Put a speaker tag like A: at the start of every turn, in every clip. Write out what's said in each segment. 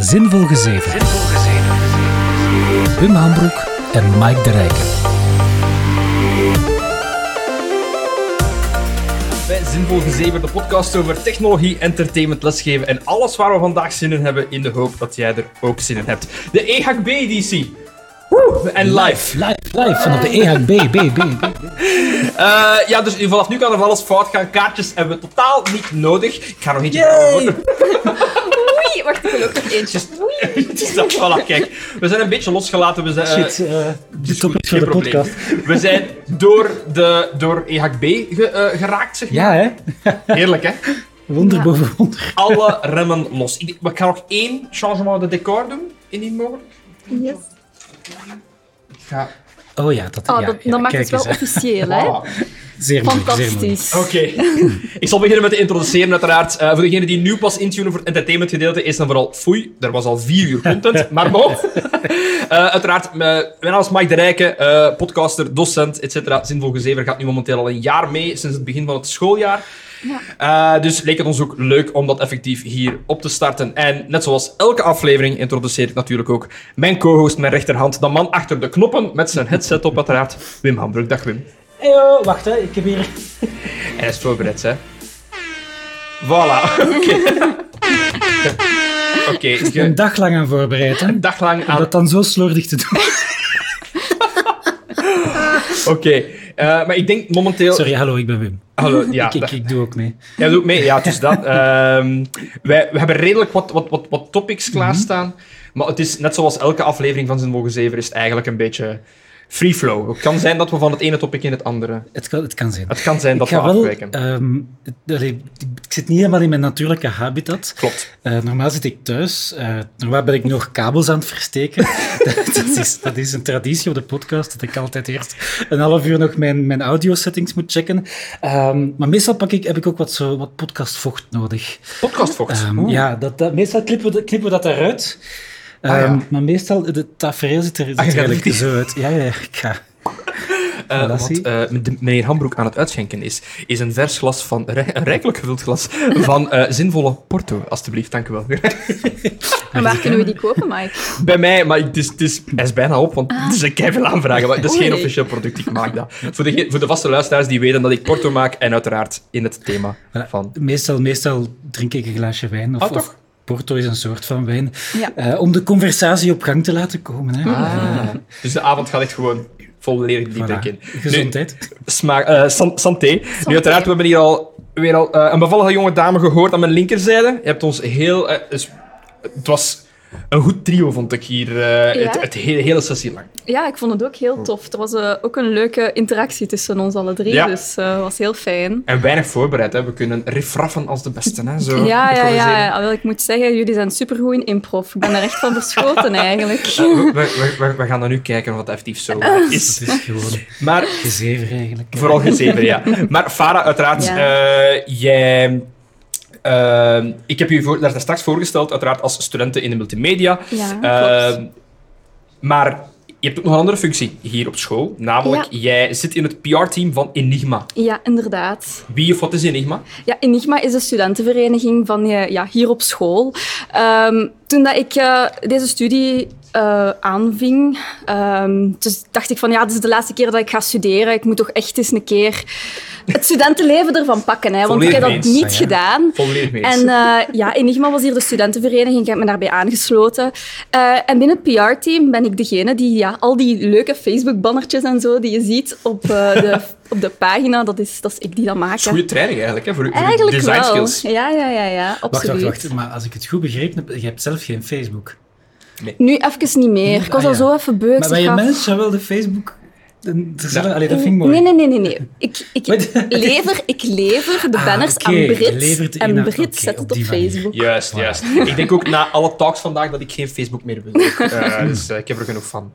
A: Zinvol Gezeven. Wim Hambroek en Mike de Rijken.
B: bij Zinvol Gezeven, de podcast over technologie, entertainment, lesgeven en alles waar we vandaag zin in hebben, in de hoop dat jij er ook zin in hebt. De E EHB-editie. Woe, En live.
A: Live, live vanaf de EHB, B, B, B.
B: Eh, ja, dus vanaf nu kan er van alles fout gaan. Kaartjes hebben we totaal niet nodig. Ik ga nog eentje hoor.
C: Oei, wacht, ik wil ook nog eentje. Oei.
B: Het is dat, voilà, kijk. We zijn een beetje losgelaten. We zijn, eh,
D: Shit, eh, de
B: is
D: topic
B: goed,
D: voor de
B: geen probleem.
D: podcast.
B: We zijn door, de, door E EHB ge- eh, geraakt, zeg
A: Ja, hè?
B: maar. Heerlijk, hè?
D: Wonder boven wonder.
B: Alle remmen los. Ik, ik ga nog één changement de decor doen, indien mogelijk.
C: Yes.
B: Ik ga
A: Oh ja, dat,
C: Oh,
A: ja,
C: dat,
A: ja,
C: dat maakt
A: kijk
C: het wel
A: eens, hè.
C: officieel, hè?
B: Voilà.
A: Zeer moeilijk, zeer moeilijk.
C: Fantastisch.
B: Oké. ik zal beginnen met te introduceren, uiteraard. Eh, voor degenen die nu pas intunen voor het entertainment gedeelte, is dan vooral foei. Er was al vier uur content, maar bon. Eh, uiteraard, eh, mijn naam is Mike de Rijke, eh, podcaster, docent, etc. Zinvol Gezever gaat nu momenteel al een jaar mee, sinds het begin van het schooljaar. Eh, dus leek het ons ook leuk om dat effectief hier op te starten. En net zoals elke aflevering introduceer ik natuurlijk ook mijn co-host, mijn rechterhand, de man achter de knoppen met zijn headset op, uiteraard, Wim Hamburg. Dag Wim.
A: Eh,
D: Hey, oh, wacht, hè, ik heb hier.
B: Hij is voorbereid, hè? Voilà, oké. oké, ik
A: Ik ben een
B: heb
A: dag lang aan voorbereid, hè.
B: een dag lang
A: Om
B: aan...
A: dat dan zo slordig te doen.
B: Oké, eh, maar ik denk momenteel...
A: Sorry, hallo, ik ben Wim.
B: Hallo, ja.
A: ik, ik,
B: dag.
A: ik doe ook mee.
B: Jij doet mee? Ja, het is dat. Ehm, wij, we hebben redelijk wat, wat, wat, wat topics
A: Mhm.
B: klaarstaan. Maar het is net zoals elke aflevering van Zin Mogen Zever is het eigenlijk een beetje free flow. Het kan zijn dat we van het ene topic in het andere...
A: Het kan, het kan zijn.
B: Het kan zijn dat
A: Ik
B: we
A: ga wel...
B: afwijken.
A: ehm, het- allee, ik zit niet helemaal in mijn natuurlijke habitat.
B: Klopt.
A: Eh, normaal zit ik thuis. Eh, normaal ben ik nog kabels aan het versteken. dat, dat is, dat is een traditie op de podcast, dat ik altijd eerst een half uur nog mijn, mijn audio-settings moet checken. Ehm, maar meestal pak ik, heb ik ook wat, zo, wat podcastvocht nodig.
B: Podcastvocht.
A: Ehm,
B: Oeh.
A: ja, dat, dat, meestal knippen we, dat- knippen we dat eruit.
B: Ah, ja. Ah,
A: Ehm, Maar meestal, het tafereel ziet er, ziet
B: gaat
A: er eigenlijk
B: niet.
A: zo uit. Ja, ja, ik ga...
B: Eh, wat
A: relatie.
B: eh, de- meneer Hambroek aan het uitschenken is, is een vers glas van, rij- een rijkelijk gevuld glas van eh, zinvolle porto, alstublieft, dank u wel.
C: En waar kunnen we die kopen, Mike?
B: Bij mij, maar het is, het is, hij is bijna op, want het is een keiveel aanvragen, maar het is
C: Oei.
B: geen officieel product, ik maak dat. Voor de, voor de vaste luisteraars die weten dat ik porto maak en uiteraard in het thema
A: Voilà.
B: van...
A: Meestal, meestal drink ik een glaasje wijn. Of,
B: Ah, toch?
A: of porto is een soort van wijn.
C: Ja.
A: Eh, om de conversatie op gang te laten komen. Hè.
B: Ah. Dus de avond gaat echt gewoon volledig
A: Voilà.
B: diep in. Nu,
A: Gezondheid.
B: smaak, eh, san- santé. Nu, uiteraard, we hebben hier al weer al, eh, een bevallige jonge dame gehoord aan mijn linkerzijde. Je hebt ons heel... eh, dus, het was een goed trio, vond ik hier, eh,
C: Ja.
B: het, het hele, hele sessie lang.
C: Ja, ik vond het ook heel tof. Er was eh, ook een leuke interactie tussen ons alle drie,
B: Ja.
C: dus eh was heel fijn.
B: En weinig voorbereid, hè. We kunnen riffraffen als de beste, hè. Zo
C: Ja, ja,
B: improviseren.
C: ja. Alhoewel, ik moet zeggen, jullie zijn supergoed in improv. Ik ben er echt van verschoten, eigenlijk.
B: We, Eh, we, we, we gaan dan nu kijken of het effectief zo
C: Eh.
B: is.
A: Dat is gewoon
B: Maar
A: gezever eigenlijk.
B: Vooral gezever, ja. Maar Farah, uiteraard,
C: Ja.
B: eh, jij... eh, ik heb je voor, daar straks voorgesteld, uiteraard als studenten in de multimedia.
C: Ja,
B: Eh,
C: Ah, klopt.
B: maar je hebt ook nog een andere functie hier op school. Namelijk, jij zit in het PR-team van Enigma.
C: Ja, inderdaad.
B: Wie of wat is Enigma?
C: Ja, Enigma is de studentenvereniging van eh, ja, hier op school. Ehm, toen dat ik eh, deze studie eh, aanving, ehm, dus dacht ik van ja, dit is de laatste keer dat ik ga studeren. Ik moet toch echt eens een keer het studentenleven ervan pakken, hè, want ik heb
B: Volledig
C: dat
B: mee
C: niet
A: eens,
C: gedaan.
B: Volledig mee eens.
C: En eh, ja, Enigma was hier de studentenvereniging. Ik heb me daarbij aangesloten. Eh, en binnen het PR-team ben ik degene die ja, al die leuke Facebook-bannertjes en zo die je ziet op, eh, de, op de pagina, dat is, dat is ik die dat maak.
B: Dat is
C: hè.
B: goede training eigenlijk, hè, voor, voor je
C: Eigenlijk
B: design
C: wel.
B: skills.
C: Ja, ja, ja, ja,
A: Wacht, wacht,
C: absoluut.
A: wacht. Maar als ik het goed begrepen heb, je hebt zelf geen Facebook.
C: Nu even niet meer. Ik was
A: Ah,
C: al
A: ja.
C: zo even beu. ik
A: Maar
C: zeg
A: bij je
C: af-
A: mensen wel de Facebook... de- er zullen- Allee, dat vind ik mooi.
C: Nee, nee, nee, nee. nee. Ik, ik,
A: Wat?
C: lever, ik lever de
A: Ah,
C: banners
A: oké, je
C: aan Brit.
A: levert
C: En
A: in-
C: Brit
A: oké,
C: zet
A: op
C: het op
A: die manier.
C: Facebook.
B: Juist, juist. Ik denk ook na alle talks vandaag dat ik geen Facebook meer wil. Eh, dus eh, ik heb er genoeg van.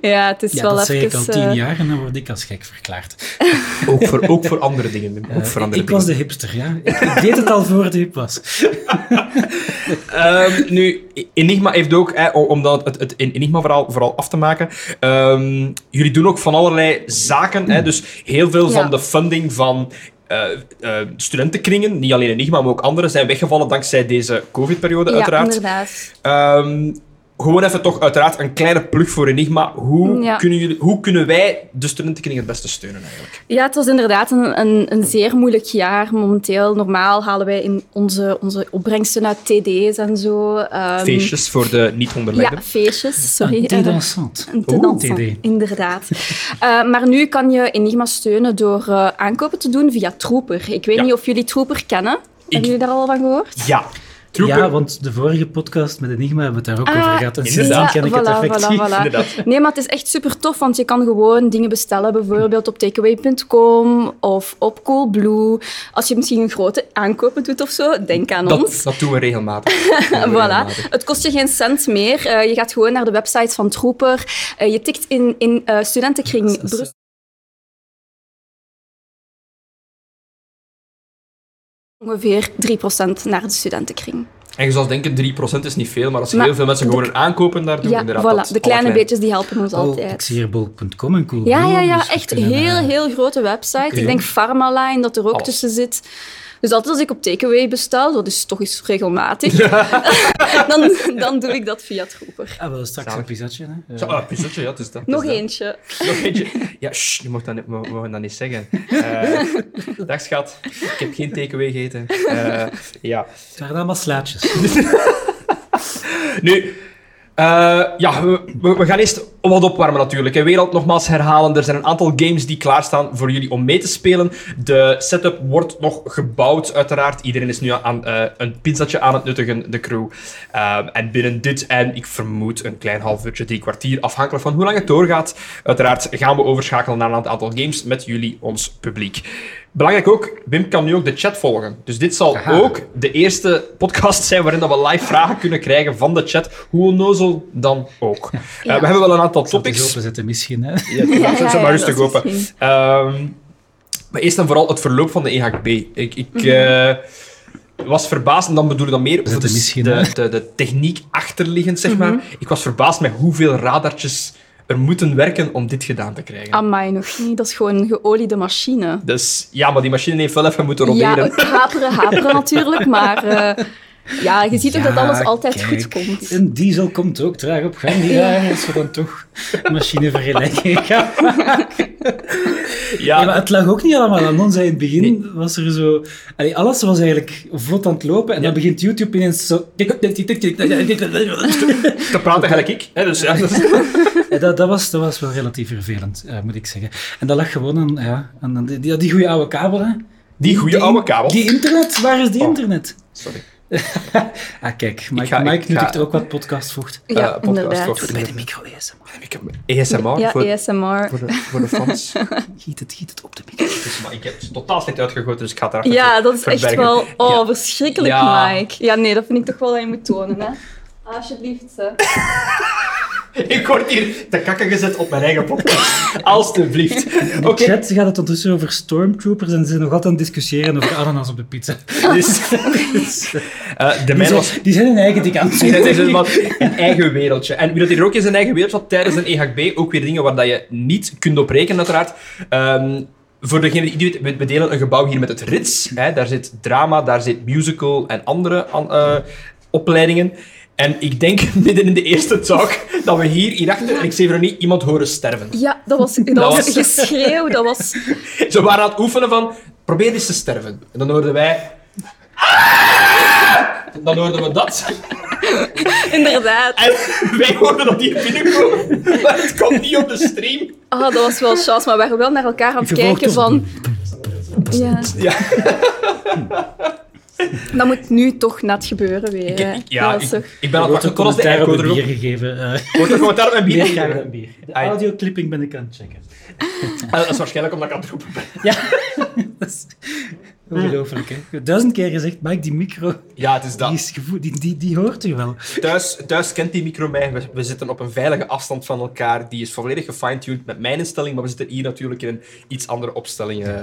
C: Ja, het is
A: Ja,
C: wel
A: dat zeg
C: even...
A: ik al tien
C: eh,
A: jaar en dan word ik als gek verklaard.
B: Ook voor, ook voor andere dingen. Wim. Ook
A: Eh,
B: voor
A: ik
B: andere
A: ik
B: dingen.
A: was de hipster, ja. Ik, ik deed het al voor het hip was.
B: Ehm, nu, Enigma heeft ook, hè, o- om dat, het, het Enigma-verhaal vooral af te maken, ehm, jullie doen ook van allerlei zaken. Hè, dus heel veel
C: Ja.
B: van de funding van eh, eh, studentenkringen, niet alleen in IGMA, maar ook anderen, zijn weggevallen dankzij deze COVID-periode,
C: Ja,
B: uiteraard.
C: inderdaad.
B: Ehm, gewoon even toch uiteraard een kleine plug voor Enigma. Hoe,
C: Ja.
B: kunnen, jullie, hoe kunnen wij de studentenkring het beste steunen eigenlijk?
C: Ja, het was inderdaad een, een, een zeer moeilijk jaar momenteel. Normaal halen wij in onze, onze opbrengsten uit TD's en zo. ehm,
B: Feestjes voor de niet-onderlegden.
C: Ja, feestjes, sorry.
A: Een thé
C: Eh,
A: dansant.
C: Een
A: Oeh,
C: tendans,
A: TD.
C: inderdaad. Eh, maar nu kan je Enigma steunen door eh, aankopen te doen via Trooper. Ik weet
B: Ja.
C: niet of jullie Trooper kennen. Hebben jullie daar al van gehoord?
B: Ja. Troepen.
A: Ja, want de vorige podcast met Enigma hebben we het daar ook
C: Ah,
A: over gehad. En sindsdien
B: inderdaad.
A: ken ik het
C: Voilà,
A: effectief.
C: voilà, voilà.
B: Inderdaad.
C: Nee, maar het is echt super tof, want je kan gewoon dingen bestellen, bijvoorbeeld op takeaway.com of op Coolblue. Als je misschien een grote aankopen doet of zo, denk aan
B: Dat,
C: ons.
B: dat doen we regelmatig. Dat doen we
C: Voilà.
B: regelmatig.
C: Het kost je geen cent meer. Eh, je gaat gewoon naar de website van Trooper. Eh, je tikt in, in eh, studentenkring
A: Dat is-
C: Brussel. Ongeveer 3% naar de studentenkring.
B: En je zou denken, 3% is niet veel, maar als je
C: Maar
B: heel veel mensen
C: de-
B: gewoon een aankopen daar doen,
C: Ja,
B: inderdaad.
C: voilà.
B: dat
C: De
B: alle
C: kleine beetjes die helpen ons
A: Oh,
C: altijd.
A: ik zie hier bol.com en cool.
C: Ja, ja, ja.
A: dus we
C: echt
A: kunnen, eh,
C: heel, heel grote website.
B: Oké.
C: Ik denk Pharmaline, dat er ook
B: Alles.
C: tussen zit. Dus altijd als ik op takeaway bestel, dat is toch eens regelmatig, dan, dan doe ik dat via Trooper.
A: Ah, wel straks
B: Zalig.
A: een pizzatje. Hè? Eh,
B: Zo, ah, pizzetje, ja, het is dat. het is
C: Nog
B: dat.
C: eentje.
B: Nog eentje. Ja, shh, je mag dat, niet- we mogen dat niet zeggen. Eh, dag schat, ik heb geen takeaway gegeten. Eh, ja.
A: Het waren allemaal slaatjes.
B: Nu, eh, ja, we, we- we gaan eerst wat opwarmen natuurlijk. hè. Weer al nogmaals herhalen, er zijn een aantal games die klaarstaan voor jullie om mee te spelen. De setup wordt nog gebouwd, uiteraard. Iedereen is nu aan eh, een pizzatje aan het nuttigen, de crew. Ehm, en binnen dit en, ik vermoed, een klein half uurtje, drie kwartier, afhankelijk van hoe lang het doorgaat, uiteraard gaan we overschakelen naar een aantal games met jullie, ons publiek. Belangrijk ook, Wim kan nu ook de chat volgen. Dus dit zal
A: Aha.
B: ook de eerste podcast zijn waarin dat we live vragen kunnen krijgen van de chat. Hoe onnozel dan ook.
C: Ja.
B: Eh, we hebben wel een aantal
A: Zal het eens
B: topics.
A: openzetten misschien. Hè?
B: Ja, ja, zet ze maar rustig
C: dat is
B: open.
C: misschien-
B: Ehm, maar eerst en vooral het verloop van de EHB. Ik, ik
C: Mhm.
B: eh, was verbaasd, en dan bedoel ik dan meer over
A: Zet
B: de,
A: hem misschien,
B: de,
A: hè?
B: de, de techniek achterliggend, zeg maar.
C: Mhm.
B: Ik was verbaasd met hoeveel radartjes er moeten werken om dit gedaan te krijgen.
C: Amai, nog niet. Dat is gewoon een geoliede machine.
B: dus ja, maar die machine heeft wel even moeten
C: Ja,
B: roderen.
C: het haperen, haperen natuurlijk, maar eh, ja, je ziet ook dat alles
A: Ja,
C: altijd
A: kijk,
C: goed komt.
A: Een diesel komt ook traag op gang die jaar, als we dan toch machinevergelijking gaan.
B: Ja,
A: Ja, maar het lag ook niet allemaal aan ons. hè. In het begin was er zo... Allee, alles was eigenlijk vlot aan het lopen en dan begint YouTube ineens zo...
B: te praten gelijk ik. Hè, dus, ja, dat is-
A: Ja, dat, dat, was, dat was wel relatief vervelend, eh, moet ik zeggen. En dat lag gewoon aan, ja, aan, aan die, die, die goede oude kabel. Hè.
B: die goede
A: Die-
B: oude kabel.
A: Die internet, waar is die
B: Oh.
A: internet?
B: Sorry.
A: Ah, kijk, Mike,
B: ga- ik
A: Mike
B: ga-
A: nuttigt er ook wat podcastvocht.
B: Eh,
C: Ja,
B: podcast
C: inderdaad.
B: wordt-
A: Bij de micro ASMR.
B: Ik heb ASMR
C: Ja,
B: voor,
C: ASMR.
B: voor de, voor de fans.
A: Giet het, giet het op de micro.
B: Dus, maar ik heb het totaal slecht uitgegoten, dus ik ga het erachter
C: Ja, dat is echt
B: verbergen.
C: wel... Oh,
B: Ja.
C: verschrikkelijk,
B: Ja.
C: Mike. Ja, nee, dat vind ik toch wel dat je moet tonen, hè. Alsjeblieft, hè.
B: Ik word hier te kakken gezet op mijn eigen podcast. Alsjeblieft. Oké,
A: Oké. Chat gaat het ondertussen over stormtroopers en ze zijn nog altijd aan het discussiëren over ananas op de pizza.
B: dus... eh, de
A: Die
B: mijn
A: zijn,
B: was...
A: die zijn hun eigen ding aan het doen.
B: Het is een, wat- een eigen wereldje. En wie dat hier ook in zijn eigen wereldje had tijdens een E EHB, ook weer dingen waar dat je niet kunt op rekenen, uiteraard. Ehm, voor degene die het niet weet, we- we delen een gebouw hier met het Rits. Hè. Daar zit drama, daar zit musical en andere an- eh, opleidingen. En ik denk midden in de eerste talk dat we hier hierachter, en ik zie er niet, iemand horen sterven.
C: Ja, dat was, dat
B: Dat
C: was
B: was-
C: geschreeuw, dat was...
B: Ze waren aan het oefenen van, probeer eens te sterven. En dan hoorden wij... "Ah!" Dan hoorden we dat.
C: Inderdaad.
B: En wij hoorden dat hier binnenkomen. Maar het komt niet op de stream.
C: Ah, dat was wel chance, maar we waren wel naar elkaar aan het
A: Gevolgd
C: kijken
A: door-
C: van... Ja.
B: Ja.
C: Dat moet nu toch net gebeuren weer,
B: Ik,
C: hè.
B: ik- ja,
C: Dat was
B: ik,
C: toch-
B: ik ben aan
A: Er wordt
B: het wachten
A: een
B: tot als de
A: commentaar op
B: eindcode
A: een bier
B: erop...
A: gegeven. eh
B: Wordt er commentaar op mijn bier?
A: meer graag dan bier. De
B: Ai.
A: audioclipping ben ik aan het checken.
B: Eh, Dat is waarschijnlijk omdat ik aan het roepen ben.
A: Dat is ongelooflijk, hè? Duizend keer gezegd, Mike, die micro,
B: Ja, het is
A: die,
B: dat.
A: is gevoed, die, die, die hoort u wel.
B: Thuis, thuis kent die micro mij. We, we zitten op een veilige afstand van elkaar. Die is volledig gefine-tuned met mijn instelling. Maar we zitten hier natuurlijk in een iets andere opstelling. eh.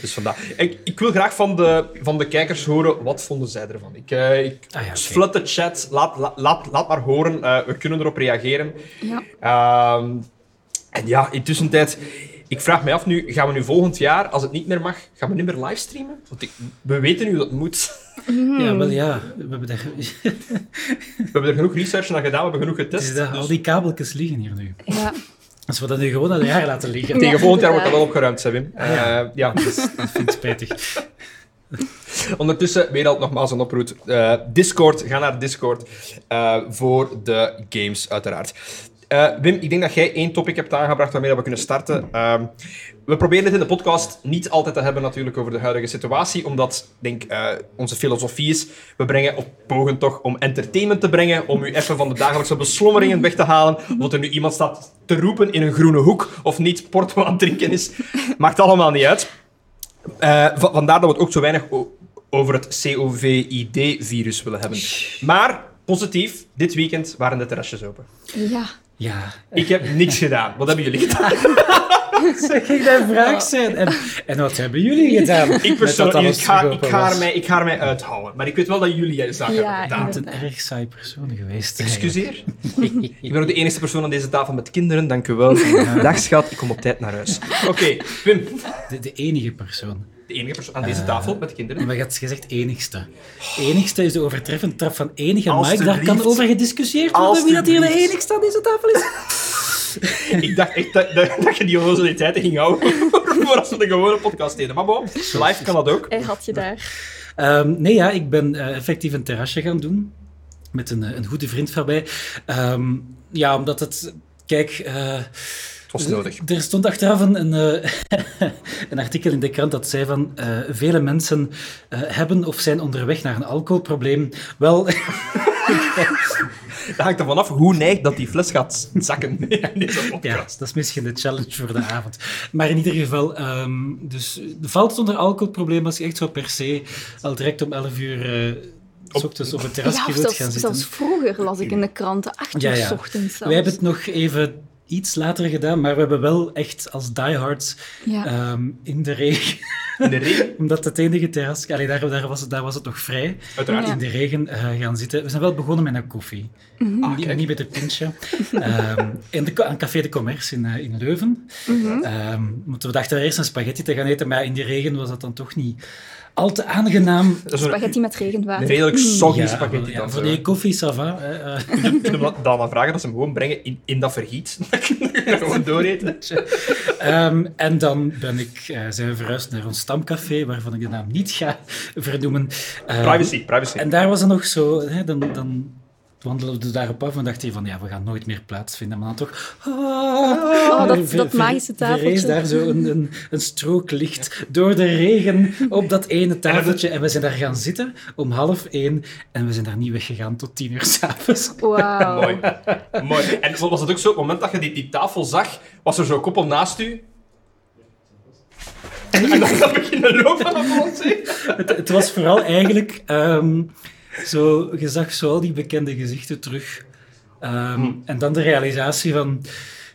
B: dus vandaar. Ik, ik wil graag van de, van de kijkers horen, wat vonden zij ervan? Ik, eh, ik
A: Ah ja, oké.
B: slut de chat. Laat, la- laat, laat maar horen. Eh, we kunnen erop reageren.
C: Ja.
B: Ehm, en ja, intussen tijd. Ik vraag mij af nu, gaan we nu volgend jaar, als het niet meer mag, gaan we niet meer livestreamen? Want ik- we weten nu hoe dat moet.
A: Ja, wel ja. We hebben daar, het
B: We hebben er genoeg research naar gedaan, we hebben genoeg
A: is
B: getest.
A: dat, al die kabeltjes liggen hier nu.
C: Ja.
A: Als we dat nu gewoon al een jaar laten liggen,
C: Ja.
B: Tegen volgend jaar wordt dat
C: inderdaad.
B: wel opgeruimd, zijn Wim. Eh,
A: Ah, ja.
B: ja.
A: dat vind ik spijtig.
B: Ondertussen, weer al nogmaals een oproep. Eh, Discord, ga naar Discord eh, voor de games, uiteraard. Eh, Wim, ik denk dat jij één topic hebt aangebracht waarmee dat we kunnen starten. Ehm, we proberen het in de podcast niet altijd te hebben natuurlijk over de huidige situatie, omdat ik denk, eh, onze filosofie is, we brengen op pogen toch om entertainment te brengen, om u even van de dagelijkse beslommeringen weg te halen, of er nu iemand staat te roepen in een groene hoek of niet porto aan het drinken is. Maakt allemaal niet uit. Eh, va- vandaar dat we het ook zo weinig o- over het COVID-virus willen hebben. Maar positief, dit weekend waren de terrasjes open.
C: ja.
A: Ja.
B: Ik heb niks gedaan. Wat hebben jullie gedaan?
A: Zeg ik daar vraag zijn. En, en wat hebben jullie gedaan?
B: Ik
A: Met
B: persoonlijk,
A: dat alles
B: ik ga, ik,
A: teruggelopen
B: ga er
A: was?
B: mij, ik ga er mij uithouden. Maar ik weet wel dat jullie je zaak
C: Ja,
B: hebben gedaan.
A: Het is een erg saai persoon geweest.
B: Excuseer. ik, ik ben ook de enige persoon aan deze tafel met kinderen. Dank u wel. Dag schat, ik kom op tijd naar huis. Oké, Wim.
A: De, de enige persoon.
B: De enige persoon aan
A: Eh.
B: deze tafel met kinderen.
A: Maar je had gezegd enigste. Enigste is de overtreffende trap van enige Mike. Daar
B: Alstublieft.
A: kan over gediscussieerd worden wie dat hier de
B: Alstublieft.
A: enigste aan deze tafel is.
B: Ik dacht echt dat, dat, dat je die onnozeliteiten ging houden voor als we de gewone podcast deden. Maar bon, live kan dat ook.
C: Hij had je daar.
A: Ehm, nee, ja, ik ben eh, effectief een terrasje gaan doen. Met een, eh, een goede vriend van mij. Ehm, ja, omdat het... Kijk, eh,
B: Het was nodig.
A: er stond achteraf een, een, eh, een artikel in de krant dat zei van... eh, vele mensen eh, hebben of zijn onderweg naar een alcoholprobleem. Wel,
B: Dus, Dat hangt ervan af hoe neigt dat die fles gaat zakken in deze
A: Ja,
B: podcast.
A: dat is misschien de challenge voor de avond. Maar in ieder geval, ehm, dus eh, valt het onder alcoholprobleem als je echt zo per se al direct om 11 uur eh, s ochtends op het
C: Ja,
A: terrasje
C: of
A: wilt
C: zelfs,
A: gaan zitten?
C: zelfs vroeger las ik in de kranten, acht uur
A: Ja, ja.
C: ochtends zelfs.
A: Wij hebben het nog even iets later gedaan, maar we hebben wel echt als diehards
C: Ja.
A: ehm, in de regen,
B: In de regen,
A: omdat het enige terras, allee, daar, daar, was het, daar was het nog vrij,
B: uiteraard.
C: Ja.
A: in de regen eh, gaan zitten. We zijn wel begonnen met een koffie.
B: Ah,
A: Niet,
B: kijk.
A: niet met een pintje. Ehm, in de, aan Café de Commerce in, eh, in Leuven.
B: Mhm.
A: Ehm, want we dachten eerst een spaghetti te gaan eten, maar in die regen was dat dan toch niet al te aangenaam.
B: Dat is een,
C: Spaghetti met regenwater.
B: een redelijk soggy
A: Ja,
B: spaghetti
A: ja,
B: dan.
A: Voor
B: zo.
A: die koffie, ça va. hè, eh.
B: Kunnen we dan maar vragen dat ze hem gewoon brengen in, in dat vergiet. Dan kunnen we gewoon dooreten.
A: Ehm, en dan ben ik, eh, zijn we verhuisd naar ons stamcafé, waarvan ik de naam niet ga vernoemen. Ehm,
B: Privacy, privacy.
A: En daar was het nog zo, hè, dan, dan wandelden we daarop af en dacht je van, ja, we gaan nooit meer plaatsvinden. Maar dan toch... ah,
C: Oh, dat-
A: ver-
C: dat
A: ver-
C: magische tafeltje.
A: verrees daar zo een, een, een strook licht door de regen op dat ene tafeltje. En we zijn daar gaan zitten om half één en we zijn daar niet weggegaan tot tien uur s'avonds.
C: Wauw.
B: Mooi. Mooi. En was het ook zo, op het moment dat je die, die tafel zag, was er zo'n koppel naast u. En, en dan dan beginnen lopen op ons. hè.
A: Het, het was vooral eigenlijk... ehm, zo, je zag zo al die bekende gezichten terug. Ehm,
B: Hm.
A: En dan de realisatie van...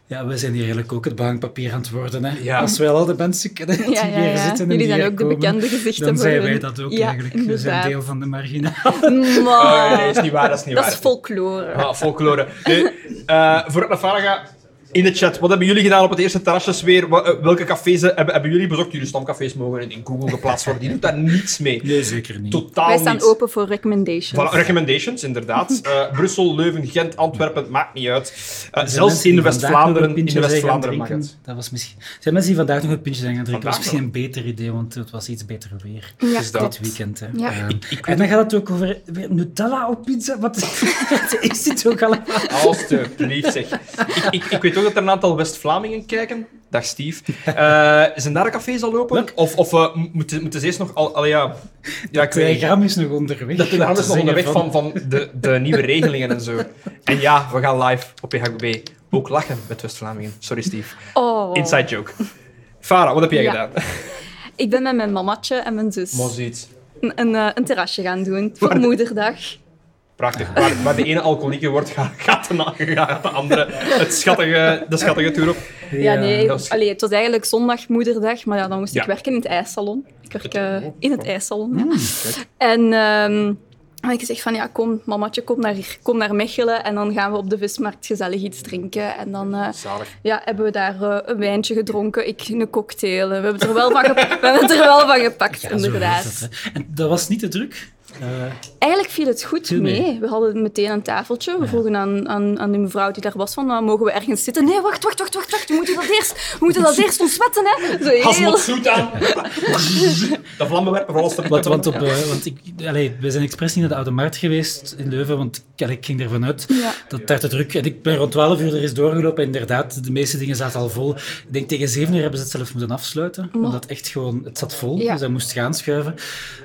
A: Ja, we zijn hier eigenlijk ook het behangpapier aan het worden. Hè?
B: Ja.
A: Als wij al de mensen kennen die
C: Ja, ja,
A: hier
C: ja.
A: zitten en
C: Jullie
A: die
C: zijn
A: hier
C: ook de
A: komen,
C: bekende gezichten.
A: Dan
C: voor
A: zijn
C: hun.
A: wij dat ook
C: Ja,
A: eigenlijk. We
C: inderdaad.
A: zijn deel van de margine.
C: Maar-
B: Oh, nee, is niet waar, dat is niet
C: dat
B: waar.
C: is folklore.
B: Ah, folklore. Nu, eh, voor ik naar Farah ga, in de chat, wat hebben jullie gedaan op het eerste terrasjes weer? Wa- eh, welke cafés eh, hebben, hebben jullie bezocht? Jullie stamcafés mogen in, in Google geplaatst worden. Die doet daar niets mee.
A: Nee, zeker niet.
B: Totaal
C: Wij staan
B: niets.
C: open voor recommendations.
B: Voilà, recommendations, inderdaad. Eh, Brussel, Leuven, Gent, Antwerpen, maakt niet uit. Eh,
A: Er zijn
B: zelfs
A: mensen
B: in de
A: die vandaag nog een
B: West-Vlaanderen in
A: pintje
B: de
A: zijn gaan
B: West-Vlaanderen mag
A: drinken.
B: het.
A: Dat was misschien... Zijn mensen die vandaag nog een pintje zijn gaan drinken?
B: Vandaag
A: was misschien een beter idee, want het was iets beter weer.
C: Ja,
B: is dat.
A: Dit weekend, hè.
C: Ja.
A: Ehm, en dan gaat het ook over weer Nutella op pizza. Wat wat is dit ook allemaal?
B: Alsjeblieft, zeg. Ik, ik, ik weet ook dat er een aantal West-Vlamingen kijken. Dag, Steve. Eh, zijn daar de cafés al open? Of, of eh, m- moeten, moeten ze eerst nog... Al, allee, ja. ja, ik weet
A: Telegram is nog onderweg.
B: Dat programma
A: Om
B: is
A: te
B: nog
A: zeggen
B: onderweg van, van de, de nieuwe regelingen en zo. En ja, we gaan live op PHB ook lachen met West-Vlamingen. Sorry, Steve.
C: Oh.
B: Inside joke. Farah, wat heb jij
C: Ja.
B: gedaan?
C: Ik ben met mijn mamatje en mijn zus
B: Moziet.
C: een, een, eh, een terrasje gaan doen voor moederdag.
B: Prachtig. Waar, waar de ene alcoholieke wordt, gaat- gaat de, na- gaat de andere het schattige, de schattige tour op.
C: Ja, nee.
B: dat is-
C: Allee, het was eigenlijk zondag moederdag, maar ja, dan moest
B: Ja.
C: ik werken in het ijssalon. Ik werk eh, in het ijssalon. ja. En ehm, En ik zeg van, ja, kom, mamatje, kom naar, hier, kom naar Mechelen. En dan gaan we op de vismarkt gezellig iets drinken. En dan eh,
B: Zalig.
C: ja, hebben we daar eh, een wijntje gedronken, ik een cocktail. En We hebben het er wel van, gep- we hebben het er wel van gepakt,
A: Ja, zo
C: inderdaad.
A: is dat, hè. En dat was niet te druk. Eh,
C: Eigenlijk viel het goed
A: Viel mee.
C: mee. We hadden meteen een tafeltje. We vroegen aan, aan, aan die mevrouw die daar was van, nou, mogen we ergens zitten? Nee, wacht, wacht, wacht, wacht, wacht. We moeten dat eerst, we moeten dat eerst ontsmetten, hè. Zo heel...
B: Hasmat zoet aan. De vlammenwerper voor alles te
A: want,
B: putten.
A: want, op, eh, want ik, allee, we zijn expres niet naar de Oude Markt geweest in Leuven, want ik, allee, ik ging ervan uit
C: Ja.
A: dat daar te druk... En ik ben rond 12 uur er is doorgelopen en inderdaad, de meeste dingen zaten al vol. Ik denk tegen 7 uur hebben ze het zelf moeten afsluiten, omdat echt gewoon... Het zat vol,
C: Ja.
A: dus dat moest gaan schuiven.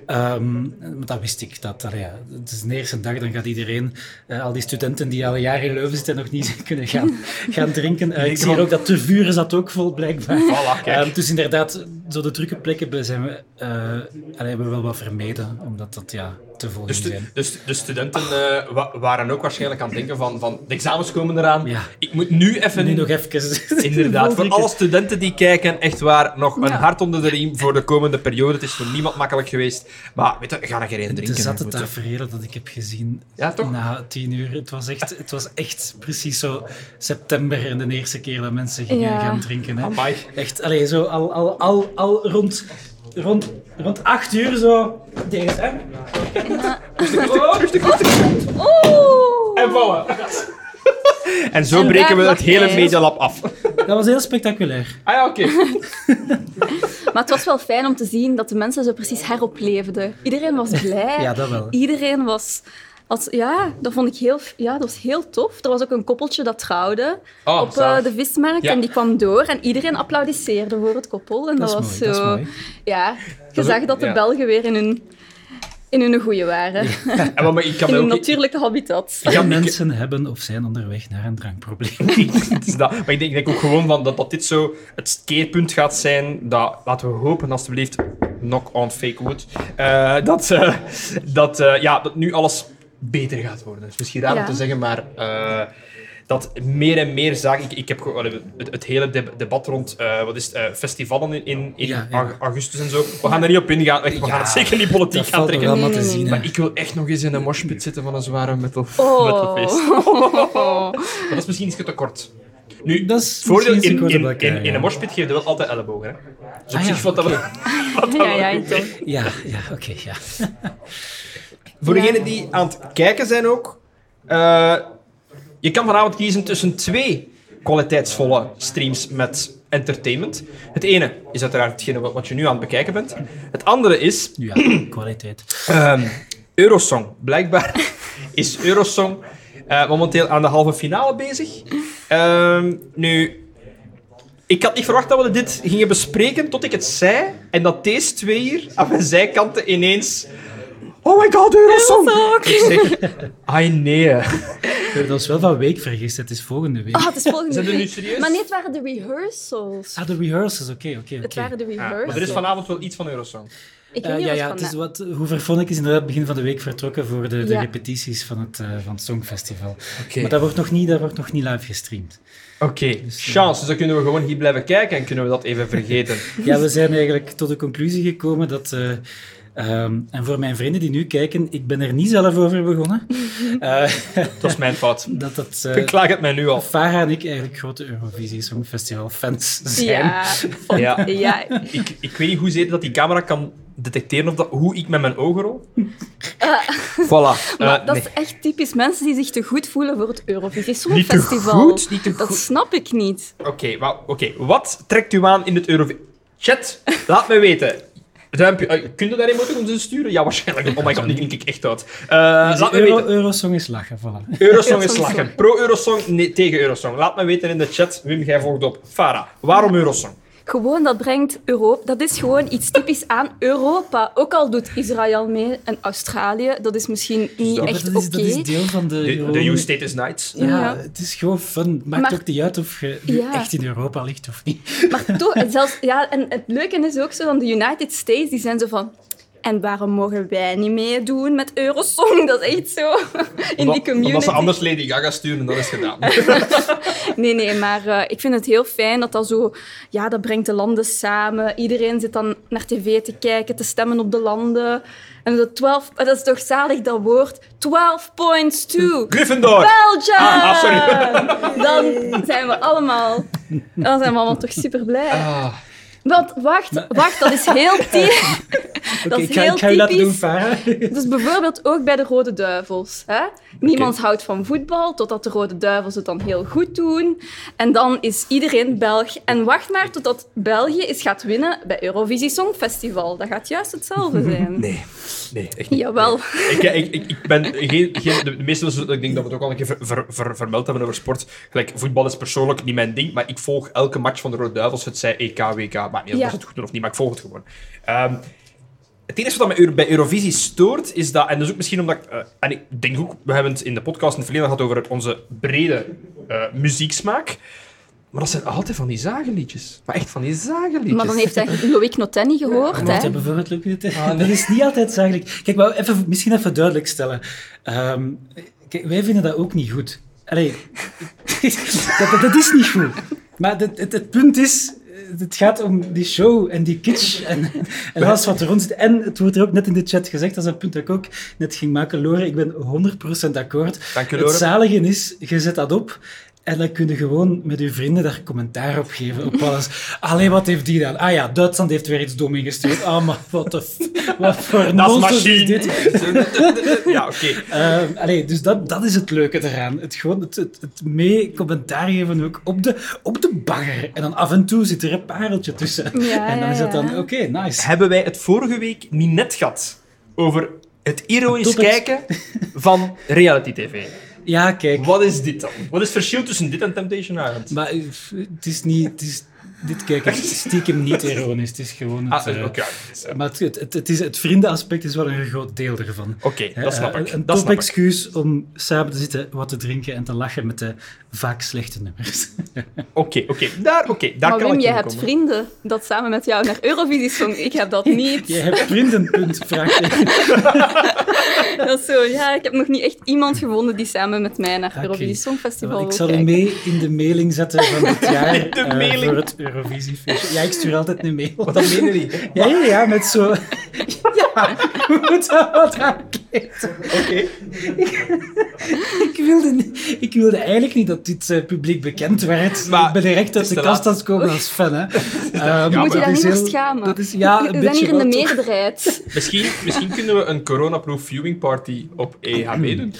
A: Ehm, maar dat wist ik. Dat, allee, ja, het is de eerste dag, dan gaat iedereen, eh, al die studenten die al een jaar in Leuven zitten en nog niet kunnen gaan, gaan drinken. Eh, ik zie hier ook dat de vuren zat ook vol, blijkbaar.
B: Voilà, kijk.
A: Ehm, dus inderdaad, zo de drukke plekken be- zijn we, eh, allee, hebben we wel wat vermeden, omdat dat ja, te vol
B: Dus
A: ging
B: de,
A: zijn.
B: dus de studenten eh, wa- waren ook waarschijnlijk aan het denken van, van de examens komen eraan.
A: Ja.
B: Ik moet nu even...
A: Nu nog even.
B: Inderdaad, voor alle studenten die kijken, echt waar, nog een
C: Ja.
B: hart onder de riem voor de komende periode. Het is voor niemand makkelijk geweest. Maar weet je, ga er geen drinken.
A: De zatte
B: hè, moet je.
A: tafereel dat ik heb gezien
B: Ja, toch?
A: na tien uur. Het was, echt, het was echt precies zo september en de eerste keer dat mensen gingen
C: Ja.
A: gaan drinken. Hè.
B: Ah, Amai.
A: Echt, allee, zo al, al, al, al rond, rond, rond acht uur zo. Deze, hè?
B: Oh, rustig, rustig.
C: Oeh!
B: En vallen. En zo
C: En
B: breken
C: daar
B: we het
C: lag
B: hele
C: hij.
B: medialab af.
A: Dat was heel spectaculair.
B: Ah ja, oké.
C: Maar het was wel fijn om te zien dat de mensen zo precies heropleefden. Iedereen was blij.
A: Ja, dat wel.
C: Iedereen was... Als, ja, dat vond ik heel, ja, dat was heel tof. Er was ook een koppeltje dat trouwde
B: Oh,
C: op eh,
B: zalig.
C: de vismarkt.
B: Ja.
C: En die kwam door en iedereen applaudisseerde voor het koppel. En dat,
A: Dat is
C: was
A: mooi, dat is
C: zo...
A: mooi.
C: Ja, je
B: Dat is
C: zag
B: ook-
C: dat de
B: ja.
C: Belgen weer in hun, in hun goeie waren.
B: En wat- maar ik kan
C: In
B: me
C: hun
B: ook... ik-
C: natuurlijke habitat.
B: ik kan- ik-
A: mensen hebben of zijn onderweg naar een drankprobleem.
B: Het is Dus dat. Maar ik denk, ik denk ook gewoon van dat, dat dit zo het keerpunt gaat zijn. Dat, laten we hopen, alstublieft, knock on fake wood. eh, dat eh, dat, eh, ja, dat nu alles beter gaat worden. Dus misschien raar om
C: Ja.
B: te zeggen, maar eh, dat meer en meer zaken. Ik, ik heb gewoon- allee, het, het hele deb- debat rond eh, wat is het, eh, festivalen in, in, in
A: Ja, ja.
B: aug- augustus en zo. We gaan er niet op ingaan. echt, We gaan het zeker niet politiek
A: Dat
B: gaan
A: valt er
B: trekken.
A: wel
C: Nee,
A: wat te
C: nee, nee.
A: zien. hè.
B: Maar ik wil echt nog eens in een moshpit zitten van een zware metal, metalfeest.
C: Oh.
B: Maar dat is misschien iets te kort. Nu,
A: Dat is
B: Voordeel in,
A: misschien
B: in,
A: iets korter
B: in,
A: bij elkaar,
B: in een
A: ja.
B: moshpit geef je wel altijd ellebogen. Hè? Dus op
A: Ah, ja,
B: zich valt dat wel-
C: Ja, ja, toch.
A: Ja, ja oké. ja.
B: Voor
C: Ja.
B: degenen die aan het kijken zijn ook, eh, je kan vanavond kiezen tussen twee kwaliteitsvolle streams met entertainment. Het ene is uiteraard hetgene wat, wat je nu aan het bekijken bent. Het andere is
A: ja, kwaliteit.
B: Ehm, Eurosong. Blijkbaar is Eurosong eh, momenteel aan de halve finale bezig. Ehm, nu, ik had niet verwacht dat we dit gingen bespreken tot ik het zei. En dat deze twee hier aan mijn zijkanten ineens... Oh my god, Eurosong! Ik zeg, ai nee.
A: We hebben ons wel van week vergist. Het is volgende week.
C: Ah, het is volgende
B: Zijn we nu
C: week.
B: serieus?
C: Maar nee, het waren de rehearsals.
A: Ah, de rehearsals. Oké, oké, oké.
C: Het waren de
B: Ja,
C: rehearsals.
B: Ah, maar er is vanavond wel iets van Eurosong.
C: Ik weet
A: Eh,
C: niet
A: ja,
C: wat
A: ja,
C: van
A: het is wat, Hooverphonic is inderdaad begin van de week vertrokken voor de, de
C: Ja.
A: repetities van het, eh, van het Songfestival.
B: Oké.
A: Maar dat wordt, nog niet, dat wordt nog niet live gestreamd.
B: Oké, chance. Dus dan kunnen we gewoon hier blijven kijken en kunnen we dat even vergeten.
A: Ja, we zijn eigenlijk tot de conclusie gekomen dat... eh, ehm, en voor mijn vrienden die nu kijken, ik ben er niet zelf over begonnen. eh,
B: Dat is mijn fout.
A: dat dat... eh,
B: Ik klaag het mij nu al.
A: Farah en ik eigenlijk grote Eurovisie Songfestival fans zijn.
C: Ja, van-
B: Ja.
C: ja.
B: ik, ik weet niet hoezeer dat die camera kan detecteren of dat, hoe ik met mijn ogen rol. voilà.
C: Eh. Maar
B: Eh,
C: dat
B: nee.
C: is echt typisch mensen die zich te goed voelen voor het Eurovisie
B: Niet te
C: Songfestival.
B: goed, niet te
C: Dat
B: goed.
C: snap ik niet.
B: Oké, wa- oké. wat trekt u aan in het Eurovisie? Chat, laat me weten. Duimpje, eh, kun je daar emoticons in sturen? Ja, waarschijnlijk. Oh my god, nu klink ik echt oud. Eh, laat me
A: Euro-
B: weten.
A: Eurosong Dus is lachen, voilà.
B: Eurosong is
C: Eurosong is
B: lachen.
C: lachen.
B: Pro-Eurosong, nee, tegen Eurosong. Laat me weten in de chat. Wim, jij volgt op. Farah, waarom Eurosong?
C: Gewoon, dat brengt Europa... Dat is gewoon iets typisch aan Europa. Ook al doet Israël mee en Australië, dat is misschien
B: Dus
C: niet
A: Maar
C: echt
A: dat,
C: oké.
A: is, dat is deel van de...
B: De,
A: Euro-
B: de You Status Nights.
A: ja,
C: Ja.
A: het is gewoon fun. Maakt
C: Maar-
A: ook niet uit of je nu
C: Ja.
A: echt in Europa ligt of niet.
C: Maar toch, en zelfs, ja, en het leuke is ook zo van de United States, die zijn zo van... En waarom mogen wij niet meedoen met Eurosong? Dat is echt zo. In die community.
B: Omdat ze anders Lady Gaga sturen, dat is gedaan.
C: Nee, nee, maar eh, ik vind het heel fijn dat dat zo... Ja, dat brengt de landen samen. Iedereen zit dan naar tv te kijken, te stemmen op de landen. En de 12... eh, Dat is toch zalig, dat woord? 12 points to
B: Gryffindor!
C: Belgium!
B: Ah, ah, sorry.
C: Dan zijn we allemaal... Dan zijn we allemaal toch super blij.
B: Ah,
C: Want, wacht, wacht, dat is heel typisch. dat is
A: ik ga,
C: heel
A: ik ga je laten doen,
C: typisch.
A: Farah.
C: Dus bijvoorbeeld ook bij de Rode Duivels. Hè? Niemand houdt van voetbal, totdat de Rode Duivels het dan heel goed doen. En dan is iedereen Belg. En wacht maar totdat België eens gaat winnen bij Eurovisie Songfestival. Dat gaat juist hetzelfde zijn.
B: nee, nee, echt niet.
C: Jawel.
B: Ik, ik, ik, ik ben geen, geen, de meeste mensen, ik denk dat we het ook al een keer ver, ver- ver- vermeld hebben over sport. Gelijk, voetbal is persoonlijk niet mijn ding, maar ik volg elke match van de Rode Duivels, het zij E EK, WK, maakt niet uit
C: Ja.
B: of ze het goed doen of niet, maar ik volg het gewoon. Ehm, het enige wat mij Euro- bij Eurovisie stoort, is dat, en dat is ook misschien omdat ik, eh, en ik denk ook, we hebben het in de podcast in het verleden gehad over onze brede eh, muzieksmaak, maar dat zijn altijd van die zagenliedjes. Maar echt van die zagenliedjes.
C: Maar dan heeft hij Loïc Noten niet gehoord.
A: Wat
C: Hè?
A: hebben we het ook niet? Dat is niet altijd zakelijk. Kijk, maar even, misschien even duidelijk stellen. Ehm, kijk, wij vinden dat ook niet goed. Allee, dat, dat, dat is niet goed. Maar het, het, het punt is, eh, het gaat om die show en die kitsch en, en alles wat er rond zit. En het wordt er ook net in de chat gezegd, dat is een punt dat ik ook net ging maken. Lore, ik ben 100% akkoord.
B: Dank je,
A: Het
B: Lore.
A: zalige is, je zet dat op en dan kun je gewoon met je vrienden daar commentaar op geven. Op alles. Allee, wat heeft die dan? Ah ja, Duitsland heeft weer iets dom ingestuurd. Ah, maar wat, de f- wat voor
B: Dat is
A: nonsens is
B: machine.
A: dit?
B: ja, oké.
A: Ehm, allee, dus dat, dat is het leuke eraan. Het, gewoon, het, het, het mee commentaar geven ook op de, op de bagger. En dan af en toe zit er een pareltje tussen.
C: Ja,
A: en dan
C: ja,
A: is dat dan,
C: ja.
A: oké, nice.
B: hebben wij het vorige week niet net gehad over het ironisch
A: Topics.
B: kijken van reality tv.
A: Ja, kijk.
B: Wat is dit dan? Wat is het verschil tussen dit en Temptation Island?
A: Maar eh, f- het is niet... Het is, dit kijk, het is stiekem niet ironisch. Het is gewoon... Het,
B: Ah,
A: eh,
B: oké. ja, dat is, eh,
A: Maar het, het, het- het is, het vriendenaspect is wel een groot deel ervan.
B: Oké, dat snap
A: Eh,
B: ik.
A: Een
B: dat
A: top
B: snap ik.
A: excuus om samen te zitten, wat te drinken en te lachen met de vaak slechte nummers.
B: Oké, oké. Daar, oké, daar
C: Maar
B: kan
C: Wim,
B: ik
C: jij
B: in
C: hebt
B: komen.
C: vrienden dat samen met jou naar Eurovisie Song. Ik heb dat niet.
A: Jij hebt vriendenpunt, vraagteken.
C: Dat is zo, ja, ik heb nog niet echt iemand gevonden die samen met mij naar
A: Oké.
C: Eurovisie Songfestival
A: Ik
C: wil
A: zal hem
C: kijken.
A: mee in de mailing zetten van dit jaar
B: In de
A: eh,
B: mailing.
A: voor het Eurovisiefeestje. Ja, ik stuur altijd een mail.
B: Wat dat meen je niet?
A: Ja, ja, ja, met zo... Ja, we moeten wat aankleden.
B: Oké.
A: Ik wilde, niet- ik wilde eigenlijk niet dat dit eh, publiek bekend werd.
B: Maar
A: ik ben direct uit
B: is
A: de
B: te
A: kast
B: laat.
A: aan het komen als fan. Hè. Ehm,
B: Ja,
C: Moet je
B: maar
A: dat
C: daar
A: is
C: niet voor
A: heel-
C: schamen.
A: Dat is, ja, een
C: we zijn
A: beetje
C: hier in de
A: wel, toch?
C: meerderheid.
B: Misschien, misschien kunnen we een coronaproof viewing party op EHB doen.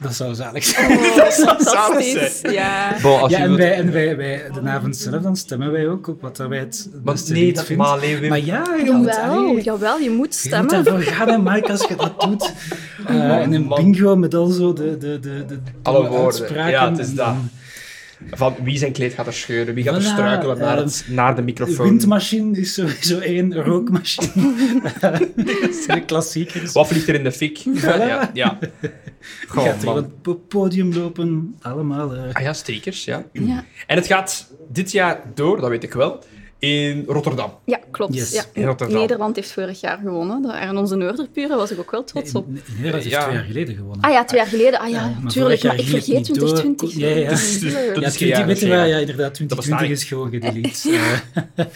A: Dat zou zalig
B: Oh.
A: zijn.
B: Dat zou
C: Fantastisch. Ja.
B: Bon, als
A: Ja,
B: je
A: en
B: wilt-
A: wij, en wij, wij, de avond zelf, dan stemmen wij ook op wat dat wij het
B: Want
A: beste
B: nee,
A: lied
B: dat
A: vinden.
B: maar alleen Wim.
A: Maar ja, je moet,
C: Jawel,
A: allee,
C: jawel, je moet
A: je moet
C: stemmen.
A: daarvoor gaan, hè, Mike, als je dat doet. Eh, en een
B: man.
A: bingo met al zo de, de, de, de
B: Alle
A: domme
B: woorden.
A: uitspraken.
B: Ja, het is
A: En
B: dat.
A: dan
B: Van wie zijn kleed gaat er scheuren, wie gaat er
A: Voilà,
B: struikelen naar, het, naar de
A: De
B: microfoon.
A: windmachine is sowieso één, rookmachine. dat zijn de klassiekers.
B: Wat vliegt er in de fik? Ja, ja.
A: Je
B: Goh,
A: gaat
B: man.
A: tegen het podium lopen, allemaal. eh.
B: Ah ja, stekers, ja.
C: Ja,
B: En het gaat dit jaar door, dat weet ik wel, in Rotterdam.
C: ja klopt.
A: Yes.
C: Ja.
B: In Rotterndaal.
C: Nederland heeft vorig jaar gewonnen. Daar- En onze Noorderburen was ik ook wel trots op.
A: Nee, nee, dat is
B: Ja.
A: twee jaar geleden gewonnen.
C: Ah ja, twee jaar geleden. Ah ja,
A: Ja, maar vorig
C: tuurlijk.
A: jaar
C: Maar ik
A: ging het
C: vergeet
A: niet door. Ja,
C: 2020.
A: ja.
B: Dus- dus-
C: Tuurlijk.
B: dat
A: Ja,
B: is geen
A: 20
B: jaar, dat is
A: meter,
B: geen
A: ja,
B: jaar.
A: ja, inderdaad,
B: Dat bestaat
A: 2020 is gewoon gedelete. Eh,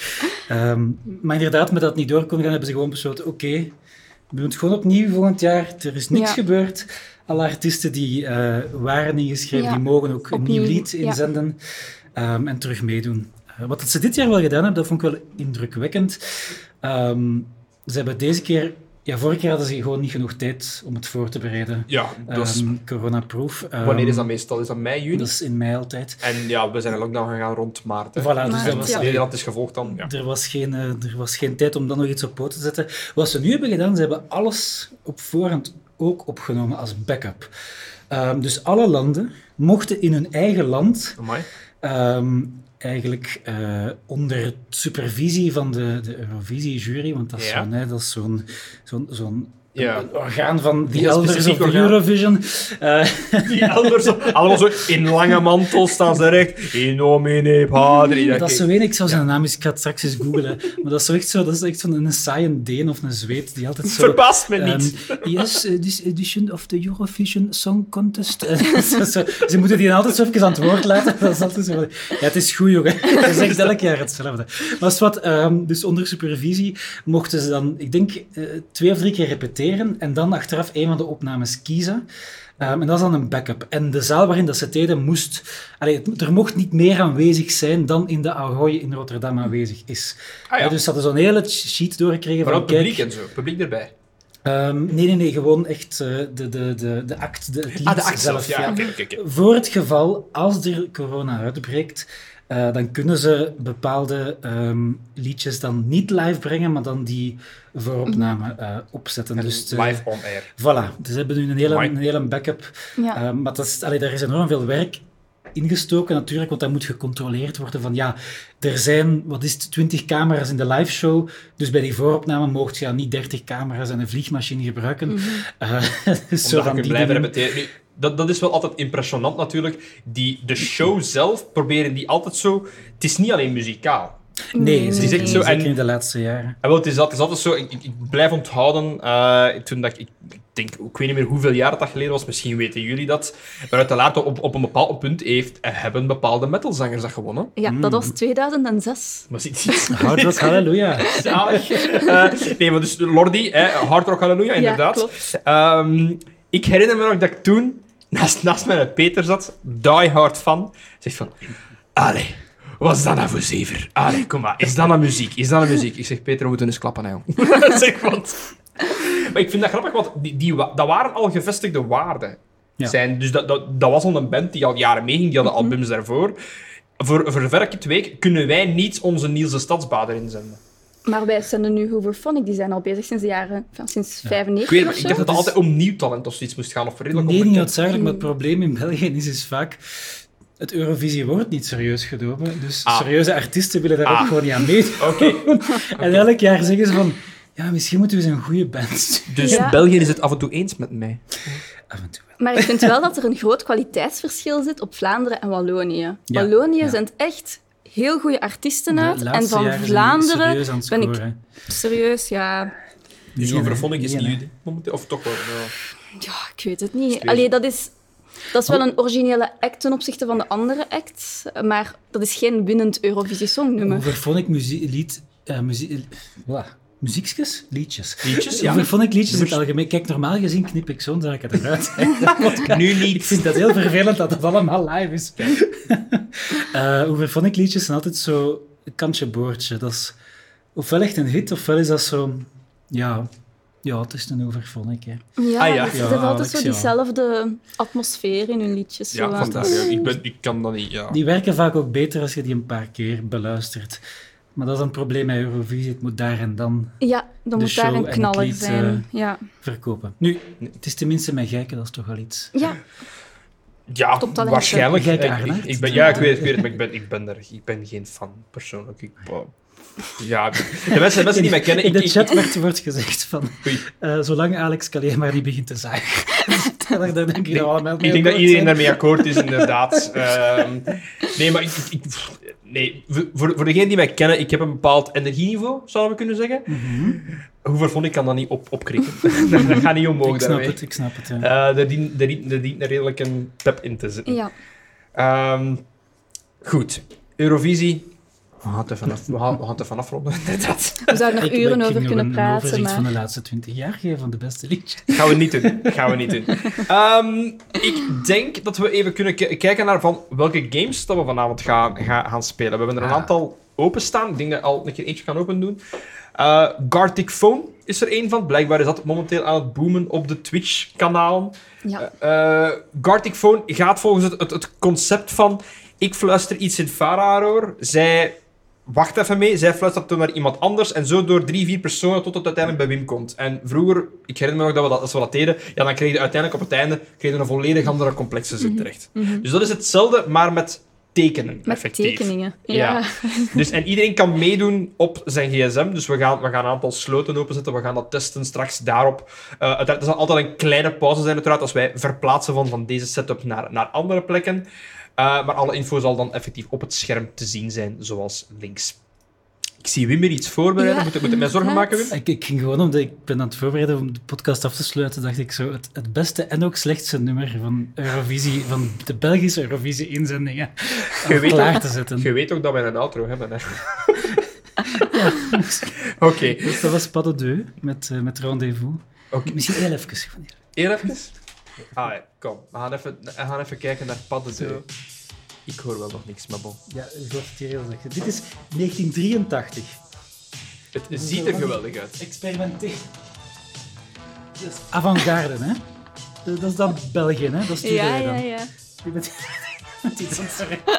A: ehm, maar inderdaad, met dat niet door kon gaan, hebben ze gewoon besloten, oké, we doen het gewoon opnieuw volgend jaar. Er is niks
C: Ja.
A: gebeurd. Alle artiesten die eh, waren ingeschreven,
C: Ja.
A: die mogen ook een
C: Opnieuw,
A: nieuw lied
C: ja.
A: inzenden ehm, en terug meedoen. Eh, wat ze dit jaar wel gedaan hebben, dat vond ik wel indrukwekkend. Ehm, ze hebben deze keer... Ja, vorige keer hadden ze gewoon niet genoeg tijd om het voor te bereiden.
B: Ja, dat is-
A: Ehm coronaproof. Ehm,
B: wanneer is dat meestal? Is dat mei, juni?
A: Dat is in mei altijd.
B: En ja, we zijn in lockdown gegaan rond maart. Hè.
A: Voilà, dus
C: Maar-
A: dat
B: Als
A: was,
C: Ja.
B: Nederland is gevolgd dan, ja.
A: er, was geen, eh, er was geen tijd om dan nog iets op poot te zetten. Wat ze nu hebben gedaan, ze hebben alles op voorhand ook opgenomen als backup. Ehm, dus alle landen mochten in hun eigen land
B: Amai.
A: ehm, eigenlijk eh, onder supervisie van de, de Eurovisie-jury, want dat is
B: Ja.
A: zo'n, hè, dat is zo'n, zo'n, zo'n
B: Ja.
A: een orgaan van The
B: Heel
A: Elders of
B: specifiek
A: the
B: orgaan.
A: Eurovision. Eh,
B: Die elders, allemaal zo in lange mantel staan ze recht. In nomine padri.
A: dat is zo weinig, ik zou zijn naam eens, ik ga het straks eens googlen. Maar dat is zo echt zo, dat is echt zo'n een saaie Deen of een Zweed die altijd zo...
B: Verbaast me
A: ehm,
B: niet.
A: yes, eh, this edition of the Eurovision Song Contest. Eh, zo- zo- Ze moeten die altijd zo even aan het woord laten. Dat is altijd zo van, ja, het is goed, jongen. Ze zegt elk jaar hetzelfde. Maar is wat, ehm, dus onder supervisie mochten ze dan, ik denk, eh, twee of drie keer repeteren en dan achteraf een van de opnames kiezen. Ehm, en dat is dan een backup. En de zaal waarin dat ze het deden moest... Allee, het- er mocht niet meer aanwezig zijn dan in de Ahoy in Rotterdam aanwezig is.
B: Ah, ja.
A: Eh, dus ze hadden zo'n hele sheet doorgekregen
B: Maar
A: van...
B: ook publiek
A: Kijk,
B: en zo. Publiek erbij.
A: Ehm, nee, nee, nee, gewoon echt eh, de, de, de, de act, de, het lied
B: Ah, de act zelf.
A: zelf.
B: Ja, oké, oké, oké.
A: Voor het geval, als er corona uitbreekt, eh, dan kunnen ze bepaalde ehm, liedjes dan niet live brengen, maar dan die vooropname eh, opzetten. Dus, eh,
B: Live on air.
A: Voilà, dus ze hebben nu een hele,
B: Amai.
A: een hele backup.
C: Ja.
A: Ehm, maar dat is, allee, daar is enorm veel werk ingestoken natuurlijk, want dat moet gecontroleerd worden van ja, er zijn, wat is het, 20 camera's in de liveshow, dus bij die vooropname mocht je ja, niet 30 camera's en een vliegmachine gebruiken. Eh, dus zo
B: Omdat je
A: van
B: kunt
A: die
B: blijven
A: dingen.
B: repeteren. Nu, dat, dat is wel altijd impressionant natuurlijk. Die, de show zelf proberen die altijd zo... Het is niet alleen muzikaal.
A: Nee,
B: is
A: zeker,
B: echt zo,
A: niet, zeker
B: en-
A: in de laatste jaren.
B: En wel, het, is, dat- het is altijd zo, ik, ik, ik blijf onthouden, eh, toen dat ik, ik denk, ik weet niet meer hoeveel jaar dat geleden was, misschien weten jullie dat, maar uiteraard op, op een bepaald punt heeft, eh, hebben bepaalde metalzangers dat gewonnen.
C: Ja,
A: Mm.
C: dat was 2006.
B: Maar ziet iets
A: Houd dat, halleluja.
B: zalig. Eh, nee, maar dus Lordi, eh, Hard Rock Hallelujah, inderdaad.
C: klopt.
B: Ehm, ik herinner me nog dat ik toen naast, naast mij met Peter zat, die hard fan, zegt van, allee. Wat is dat nou voor zever? Allee, kom maar. Is dat nou muziek? Is dat nou muziek? Ik zeg, Peter, we moeten eens klappen, hè, jong. zeg, wat? Maar ik vind dat grappig, want die, die, wa- dat waren al gevestigde waarden.
A: Ja.
B: Zijn, dus dat, dat, dat was al een band die al jaren meeging, die hadden albums daarvoor. Voor, voor ver ik het weet, kunnen wij niet onze Niels de Stadsbader inzenden.
C: Maar wij zenden nu Hooverphonic, die zijn al bezig sinds de jaren, enfin, sinds
B: Ik weet
C: 95
B: het,
C: of
B: maar ik
C: zo. dus-
B: dacht dat het
A: Dat is-
B: altijd om nieuw talent of zoiets moest gaan, of redelijk
A: Nee, niet
B: onbekend.
A: noodzakelijk, maar het probleem in België is, is vaak... Het Eurovisie wordt niet serieus genomen, dus
B: Ah.
A: serieuze artiesten willen daar
B: Ah.
A: ook gewoon niet aan meedoen.
B: Oké,
A: En elk jaar zeggen ze van... Ja, misschien moeten we eens een goede band sturen.
B: dus
C: Ja.
B: België is het af en toe eens met mij.
A: Af en toe wel.
C: Maar ik vind wel dat er een groot kwaliteitsverschil zit op Vlaanderen en Wallonië.
A: Ja,
C: Wallonië
A: ja.
C: zendt echt heel goede artiesten
A: De
C: uit. En
A: laatste
C: van
A: jaren zijn die
C: Vlaanderen
A: serieus aan het
C: ben ik-
A: scoren.
C: Serieus, ja.
B: Dus
A: Nee,
B: overvond ik is
A: nee,
B: niet
A: nee.
B: jullie momenteel, of toch wel. ja.
C: Ja, ik weet het niet.
B: weer-
C: Allee, dat is, dat is wel een originele act ten opzichte van de andere acts. Maar dat is geen winnend Eurovisie Songnummer.
A: Overphonic muzie- lied... eh, muzie- voilà. Muziekjes? Liedjes.
B: Liedjes, ja.
A: Overphonic liedjes in het
B: Moest-
A: algemeen. Kijk, normaal gezien knip ik zo'n zaken eruit.
B: Nu
A: ik
B: niet.
A: vind dat heel vervelend dat dat allemaal live is. Eh Overphonic liedjes zijn altijd zo... Een kantje boordje. Dat is ofwel echt een hit, ofwel is dat zo... Ja, ja het is een overphonic, hè.
C: Oh. Ja,
B: Ah, ja.
C: dat is
A: Ja,
C: altijd
A: Alex,
C: zo
A: ja.
C: diezelfde atmosfeer in hun liedjes. zo eh.
B: Ja,
C: aan.
B: fantastisch. Ik, ben, ik kan dat niet, ja.
A: eh, Die werken vaak ook beter als je die een paar keer beluistert. Maar dat is een probleem bij Eurovisie. Het moet daar en dan
C: ja dan
A: De
C: moet daar
A: show
C: een
A: en
C: knaller
A: het lied,
C: zijn.
A: eh,
C: Ja.
A: verkopen.
B: Nu,
A: Het is tenminste mijn geiken, dat is toch al iets.
C: ja,
B: ja,
C: Toptalenten.
B: waarschijnlijk. Eh,
A: Jij kijkt
B: Ik- ik,
A: ernaar.
B: ik ben, ja, ik weet het, ik weet het, maar ik ben, ik ben er, ik ben geen fan, persoonlijk. Ik, ja, de mensen, de mensen die mij kennen,
A: In
B: ik,
A: de
B: ik,
A: chat werd, wordt gezegd van,
B: Oei.
A: eh, zolang Alex Calais maar niet begint te zagen. daar denk ik oh, dat we allemaal mee
B: Ik denk dat
A: akkoord
B: iedereen
A: zijn.
B: daarmee akkoord is, inderdaad. Ehm, nee, maar ik, ik- ik- pff, nee, voor, voor voor degenen die mij kennen, ik heb een bepaald energieniveau, zouden we kunnen zeggen.
A: Mhm.
B: Hoeveel vond ik kan dat niet op, opkrikken? dat gaat niet
A: Ik
B: omhoog
A: snap
B: daarmee.
A: het, ik snap het. ja.
B: Eh, daar dient daar dient- daar dient een redelijk een pep in te zitten.
C: ja.
B: Ehm, goed, Eurovisie. We gaan het er vanaf- we gaan we gaan het er vanaf ronden, inderdaad.
C: We zouden er
A: Ik- ik
C: uren
A: ging
C: over
A: nog
C: kunnen
A: een
C: praten.
A: overzicht
C: Maar...
A: van de laatste twintig jaar geven van de beste liedjes.
B: Gaan we niet doen. Gaan we niet doen. Ehm, ik denk dat we even kunnen ki- kijken naar van welke games dat we vanavond gaan, gaan, gaan spelen. We hebben er een
A: Ah.
B: aantal openstaan. Ik denk dat ik al een keer eentje gaan open doen. Eh Gartic Phone is er één van. Blijkbaar is dat momenteel aan het boomen op de Twitch-kanalen.
C: Ja.
B: Eh, Gartic Phone gaat volgens het, het, het concept van... Ik fluister iets in Fararoor. Zij wacht even mee. Zij fluistert toen naar iemand anders. En zo door drie, vier personen tot het uiteindelijk bij Wim komt. En vroeger, ik herinner me nog dat we dat, als we dat deden... Ja, dan kreeg je uiteindelijk op het einde kreeg je een volledig andere complexe zin terecht. Dus dat is hetzelfde, maar met tekenen.
C: Mhm. Met
B: effectief.
C: tekeningen.
B: Ja.
C: Ja.
B: Dus, en iedereen kan meedoen op zijn gsm. Dus we gaan, we gaan een aantal sloten openzetten. We gaan dat testen straks daarop. Eh, uiteraard, er zal altijd een kleine pauze zijn uiteraard als wij verplaatsen van, van deze setup naar, naar andere plekken. Eh, maar alle info zal dan effectief op het scherm te zien zijn, zoals links. Ik zie Wim hier iets voorbereiden.
C: Ja,
B: moet, ik- moet ik mij zorgen maken, Wim?
A: Ik, ik ging gewoon omdat ik ben aan het voorbereiden om de podcast af te sluiten, dacht ik zo het, het beste en ook slechtste nummer van Eurovisie, van de Belgische Eurovisie-inzendingen
B: Je weet
A: klaar te zetten.
B: Je weet ook dat wij een outro hebben, hè? Oké.
A: Dus dat was Pas de Deux met, eh, met Rendezvous.
B: Oké.
A: Misschien heel even. gewoon heel-
B: Eer even? Ah ja, kom. We gaan even, we gaan even kijken naar Padden. Zo. Ik hoor wel nog niks, maar bon.
A: Ja, ik hoort het hier heel slecht. Dit is 1983.
B: Het ziet er geweldig uit.
A: Experimenteer. Dat is avant-garde, hè? Dat is dan België, hè? Dat is
C: Ja,
A: Turijn
C: ja,
A: dan.
C: ja.
A: Je bent- met iets aan het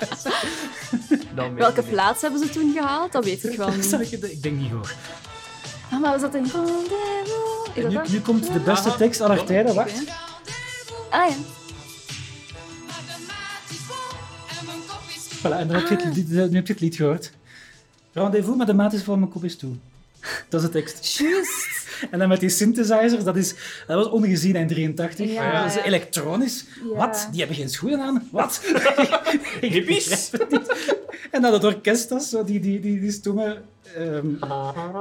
A: zeggen.
B: Dan weet
C: Welke
B: ik niet.
C: plaats hebben ze toen gehaald? Dat weet ik wel niet.
A: Zal ik het- Ik denk niet hoog.
C: Ah, maar was dat een... Rendezvous? Is
A: En
C: dat
A: nu,
C: dat?
A: nu komt de beste
B: Aha.
A: tekst aller tijden,
C: Oké.
A: wacht.
C: Ah ja.
A: Voilà, en dan heb je
C: Ah.
A: het, lied- nu heb je het lied gehoord. Rendezvous met de maat is voor mijn kop is toe. Dat is de tekst.
C: Juist.
A: En dan met die synthesizers, dat, is, dat was ongezien in 83.
C: Ja.
A: Dat is elektronisch.
C: Ja.
A: Wat? Die hebben geen schoenen aan? Wat?
B: Hippies!
A: En dan het orkest, dat is zo die, die, die, die stomme... ehm,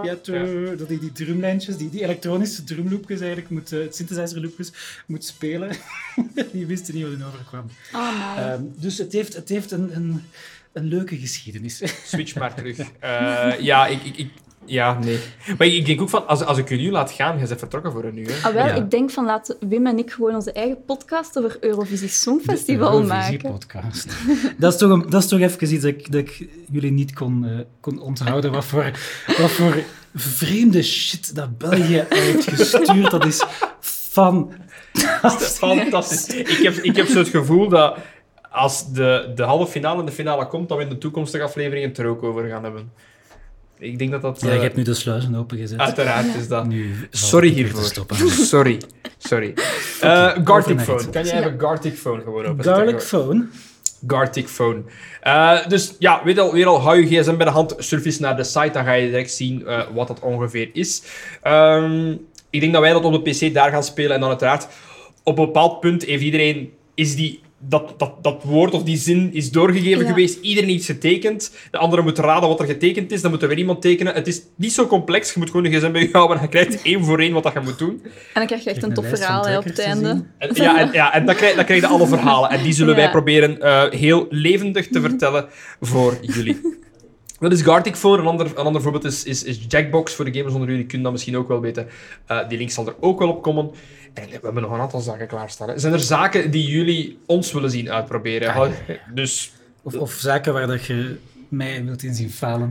A: ja, tu- dat die, die drumlijntjes, die, die elektronische drumloopjes eigenlijk, moet, eh, het synthesizerloopjes, moet spelen. die wisten niet wat hun overkwam.
C: Oh, man.
A: Ehm, dus het heeft, het heeft een, een, een leuke geschiedenis.
B: Switch maar terug. Eh, ja, ik, ik, ik- Ja, nee. Maar ik denk ook van, als, als ik je nu laat gaan, jij bent vertrokken voor een uur. Hè?
C: Ah, wel,
A: Ja.
C: ik denk van laten Wim en ik gewoon onze eigen podcast over Eurovisie Songfestival maken.
A: podcast. dat, is toch een, dat is toch even iets dat ik, dat ik jullie niet kon, eh, kon onthouden. Wat voor, wat voor vreemde shit dat België heeft gestuurd. Dat is fantastisch.
B: Fantastisch. Ik heb, ik heb zo het gevoel dat als de, de halve finale en de finale komt, dat we in de toekomstige afleveringen het er ook over gaan hebben. Ik denk dat dat...
A: Ja,
B: eh,
A: je hebt nu de sluizen opengezet.
B: Uiteraard is dat.
A: Nu
B: Sorry
A: hier
B: hiervoor. Sorry. Sorry. Eh Gartic Phone. Kan jij even Gartic Phone gewoon openzetten?
A: Garlic phone.
B: Gartic Phone. Eh, dus ja, weet al, weer al, hou je gsm bij de hand, surf eens naar de site, dan ga je direct zien eh, wat dat ongeveer is. Ehm, ik denk dat wij dat op de PC daar gaan spelen en dan uiteraard op een bepaald punt heeft iedereen is die, dat, dat, dat woord of die zin is doorgegeven
C: Ja.
B: geweest, iedereen iets getekend, de andere moet raden wat er getekend is, dan moet er weer iemand tekenen. Het is niet zo complex, je moet gewoon de gsm bij je houden en je krijgt één voor één wat dat je moet doen.
C: En dan krijg je echt een
A: Kijk,
C: tof
A: lijst van
C: verhaal hè, op het
A: trekkers te
C: einde.
A: zien.
B: En, ja, en, ja, en dan, krijg, dan krijg je alle verhalen. En die zullen
C: Ja.
B: wij proberen eh, heel levendig te vertellen voor jullie. Dat is Gartic voor. Een ander, een ander voorbeeld is, is, is Jackbox. Voor de gamers onder jullie kunnen dat misschien ook wel weten. Eh, die link zal er ook wel op komen. En we hebben nog een aantal zaken klaarstaan. hè. Zijn er zaken die jullie ons willen zien
A: Ah,
B: uitproberen? Hou- Dus
A: Of, of zaken waar dat je mij wilt inzien falen.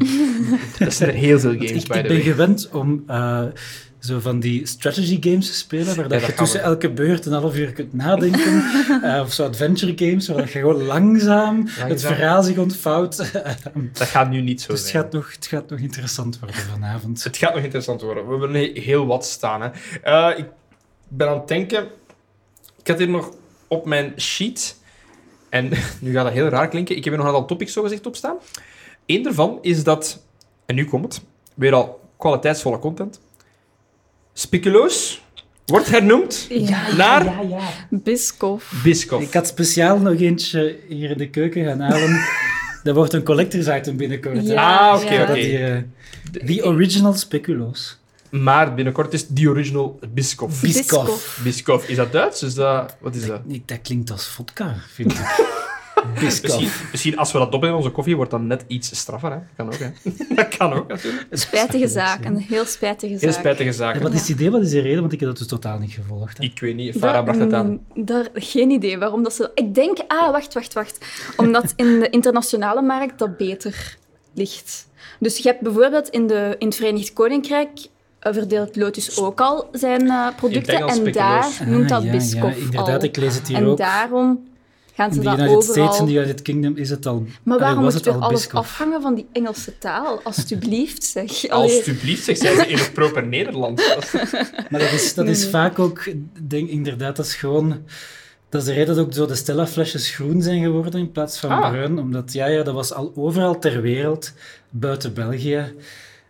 B: er zijn er heel veel games
A: Ik, ik
B: bij
A: ben
B: de way.
A: gewend om eh, zo van die strategy games te spelen, waar dat
B: dat
A: je
B: gaan
A: tussen
B: we.
A: elke beurt een half uur kunt nadenken. Eh, of zo adventure games, waar dat je gewoon langzaam, het
B: Langzaam.
A: verhaal zich ontvouwt.
B: Dat gaat nu niet zo
A: dus het
B: zijn.
A: gaat, nog, het gaat nog interessant worden vanavond.
B: Het gaat nog interessant worden. We hebben he- heel wat staan. Hè. Eh, ik ben aan het denken. Ik had hier nog op mijn sheet. En nu gaat dat heel raar klinken. Ik heb hier nog een aantal topics zogezegd op staan. Eén daarvan is dat. En nu komt het. Weer al kwaliteitsvolle content. Speculoos wordt hernoemd
C: Ja,
B: naar
D: Ja, ja.
C: Biscoff.
B: Biscoff.
A: Ik had speciaal nog eentje hier in de keuken gaan halen. Dat wordt een collector's item binnenkort. hè.
C: Ja.
B: ah, oké,
A: Ik ga
B: oké.
A: dat hier, eh, The Original Speculoos.
B: Maar binnenkort is The Original Biscoff.
A: Bis- Biscoff.
B: Biscoff. Is dat Duits? Is dat... Wat is dat?
A: Nee, dat klinkt als vodka, vind ik.
B: Misschien,
A: Biscoff.
B: misschien als we dat opnemen in onze koffie, wordt dat net iets straffer. Hè? Kan ook, hè? dat kan ook, natuurlijk.
C: Spijtige zaak, een heel spijtige zaak.
B: Heel spijtige
A: En
B: zaak.
A: wat is het idee, wat is de reden? Want ik heb dat dus totaal niet gevolgd. Hè.
B: Ik weet niet, Farah bracht het aan.
C: mm, Daar, geen idee waarom dat ze... Ik denk... Ah, wacht, wacht, wacht. Omdat in de internationale markt dat beter ligt. Dus je hebt bijvoorbeeld in, de, in het Verenigd Koninkrijk eh, verdeelt Lotus ook al zijn eh, producten.
B: Engels
C: En daar
B: speculoos.
C: noemt dat
A: Ah, ja,
C: Biscoff
A: ja, inderdaad,
C: al.
A: ik lees het hier
C: En
A: ook.
C: daarom gaan
A: in
C: ze
A: de
C: dat
A: United States en
C: overal...
A: de United Kingdom is het al.
C: Maar waarom
A: was
C: moet
A: het
C: weer
A: al
C: alles
A: Biscoff?
C: afhangen van die Engelse taal? Alsjeblieft, zeg. Allee.
B: Alsjeblieft, zeg, zijn ze in het proper Nederlands. Dat is-
A: Maar dat is, dat is
C: Nee.
A: vaak ook, denk inderdaad, dat is gewoon. Dat is de reden dat ook zo de Stella-flesjes groen zijn geworden in plaats van
B: Ah.
A: bruin. Omdat, ja, ja, dat was al overal ter wereld, buiten België.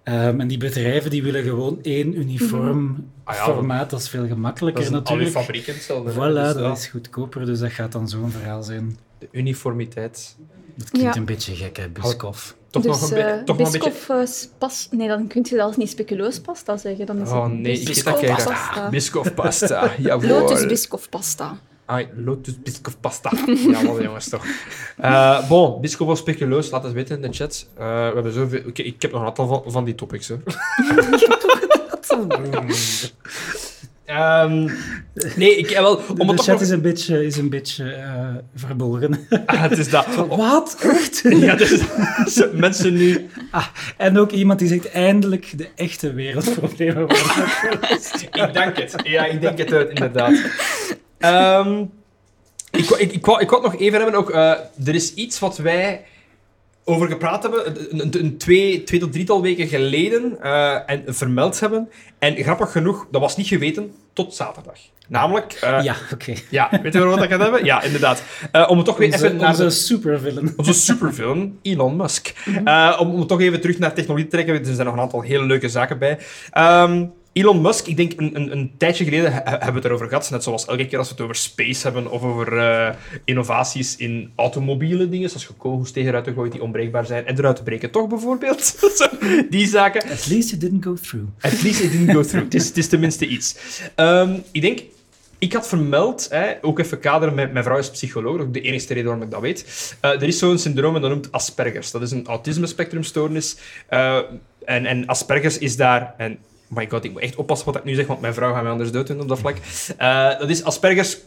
A: Ehm, en die bedrijven die willen gewoon één uniform
C: Mhm.
B: Ah ja, dat-
A: formaat. Dat is veel gemakkelijker
B: Dat is een
A: natuurlijk.
B: alufabriek en hetzelfde. hè.
A: Voilà,
B: Dus
A: dat is goedkoper, dus dat gaat dan zo'n verhaal zijn.
B: De uniformiteit.
A: Dat klinkt
C: Ja.
A: een beetje gek, hè, Buskov.
B: Toch
C: dus,
B: nog een, be-
C: eh,
B: toch nog een beetje...
C: Biscoff, eh, pas... Nee, dan kun je zelfs niet speculoos pasta zeggen. Dan is
B: Oh
C: het
B: nee, ik
C: Biscoff
B: eet dat Ah,
C: pasta.
B: graag. Biscoff pasta, jawel.
C: Lotus Biscoff pasta.
B: Ai, Lotus Biscoff pasta. Jawel jongens, toch. Eh, bon, Biscoff was speculoos, laat het weten in de chat. Eh, we hebben zoveel... Oké, ik heb nog een aantal van, van die topics, hè. Ehm, nee, ik heb wel... Om
A: De
B: het
A: chat
B: toch nog...
A: is een beetje, is een beetje eh, verbolgen.
B: Ah, het is dat.
A: Wat? Echt?
B: Ja, dus mensen nu...
A: En ook iemand die zegt eindelijk de echte wereldproblemen worden.
B: Ik denk het. Ja, ik denk het eh, inderdaad. Ehm, ik, wou- ik, ik, wou, ik wou het nog even hebben ook. eh, er is iets wat wij over gepraat hebben, een, een- een twee, twee tot drietal weken geleden, eh, en vermeld hebben. En grappig genoeg, dat was niet geweten tot zaterdag. Namelijk, eh, ja.
A: ja, oké.
B: weet je waarover dat gaat hebben? Ja, inderdaad. Eh, om het toch weer
A: Onze,
B: even naar
A: onze
B: de-
A: supervillain.
B: onze superfilm, Elon Musk. Eh, om, om toch even terug naar technologie te trekken, er zijn nog een aantal hele leuke zaken bij. Ehm, Elon Musk, ik denk een, een, een tijdje geleden he- hebben we het erover gehad, net zoals elke keer als we het over space hebben of over eh, innovaties in automobielen dingen, zoals je kogels tegenuit te gooien die onbreekbaar zijn en eruit te breken, toch bijvoorbeeld? Zo, die zaken.
A: At least it didn't go through.
B: At least it didn't go through. het, is, het is tenminste iets. Ehm, ik denk, ik had vermeld, hè, ook even kaderen, mijn, mijn vrouw is psycholoog, ook de enige reden waarom ik dat weet. Eh, er is zo'n syndroom en dat noemt Asperger's. Dat is een autisme-spectrumstoornis. Eh, en, en Asperger's is daar... En, oh my god, ik moet echt oppassen wat ik nu zeg, want mijn vrouw gaat mij anders dood doen op dat vlak. Eh, dat is Asperger's...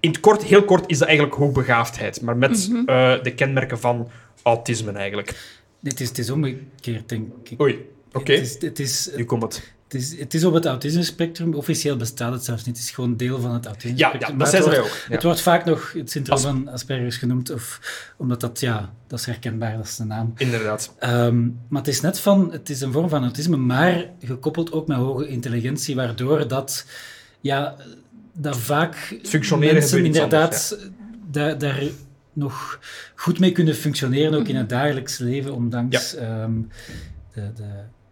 B: In het kort, heel kort, is dat eigenlijk hoogbegaafdheid. Maar met
A: Mhm.
B: eh, de kenmerken van autisme eigenlijk.
A: Nee, Het is, het is omgekeerd, denk ik.
B: Oei, oké.
A: Het, is, het, is,
B: Nu komt het.
A: het, is, het is op het autisme-spectrum. Officieel bestaat het zelfs niet. Het is gewoon deel van het
B: Ja,
A: autisme-spectrum.
B: ja
A: Maar
B: dat zijn
A: het
B: ze
A: wordt-
B: ook. Ja.
A: Het wordt vaak nog het syndroom
B: As-
A: van Asperger's genoemd, of, omdat dat, ja, dat is herkenbaar, dat is de naam.
B: Inderdaad.
A: Ehm, maar het is net van, het is een vorm van autisme, maar gekoppeld ook met hoge intelligentie, waardoor dat, ja, dat vaak
B: functioneren
A: mensen
B: gebeurt iets
A: inderdaad da- daar nog goed mee kunnen functioneren, ook in het dagelijks leven, ondanks ehm, de... de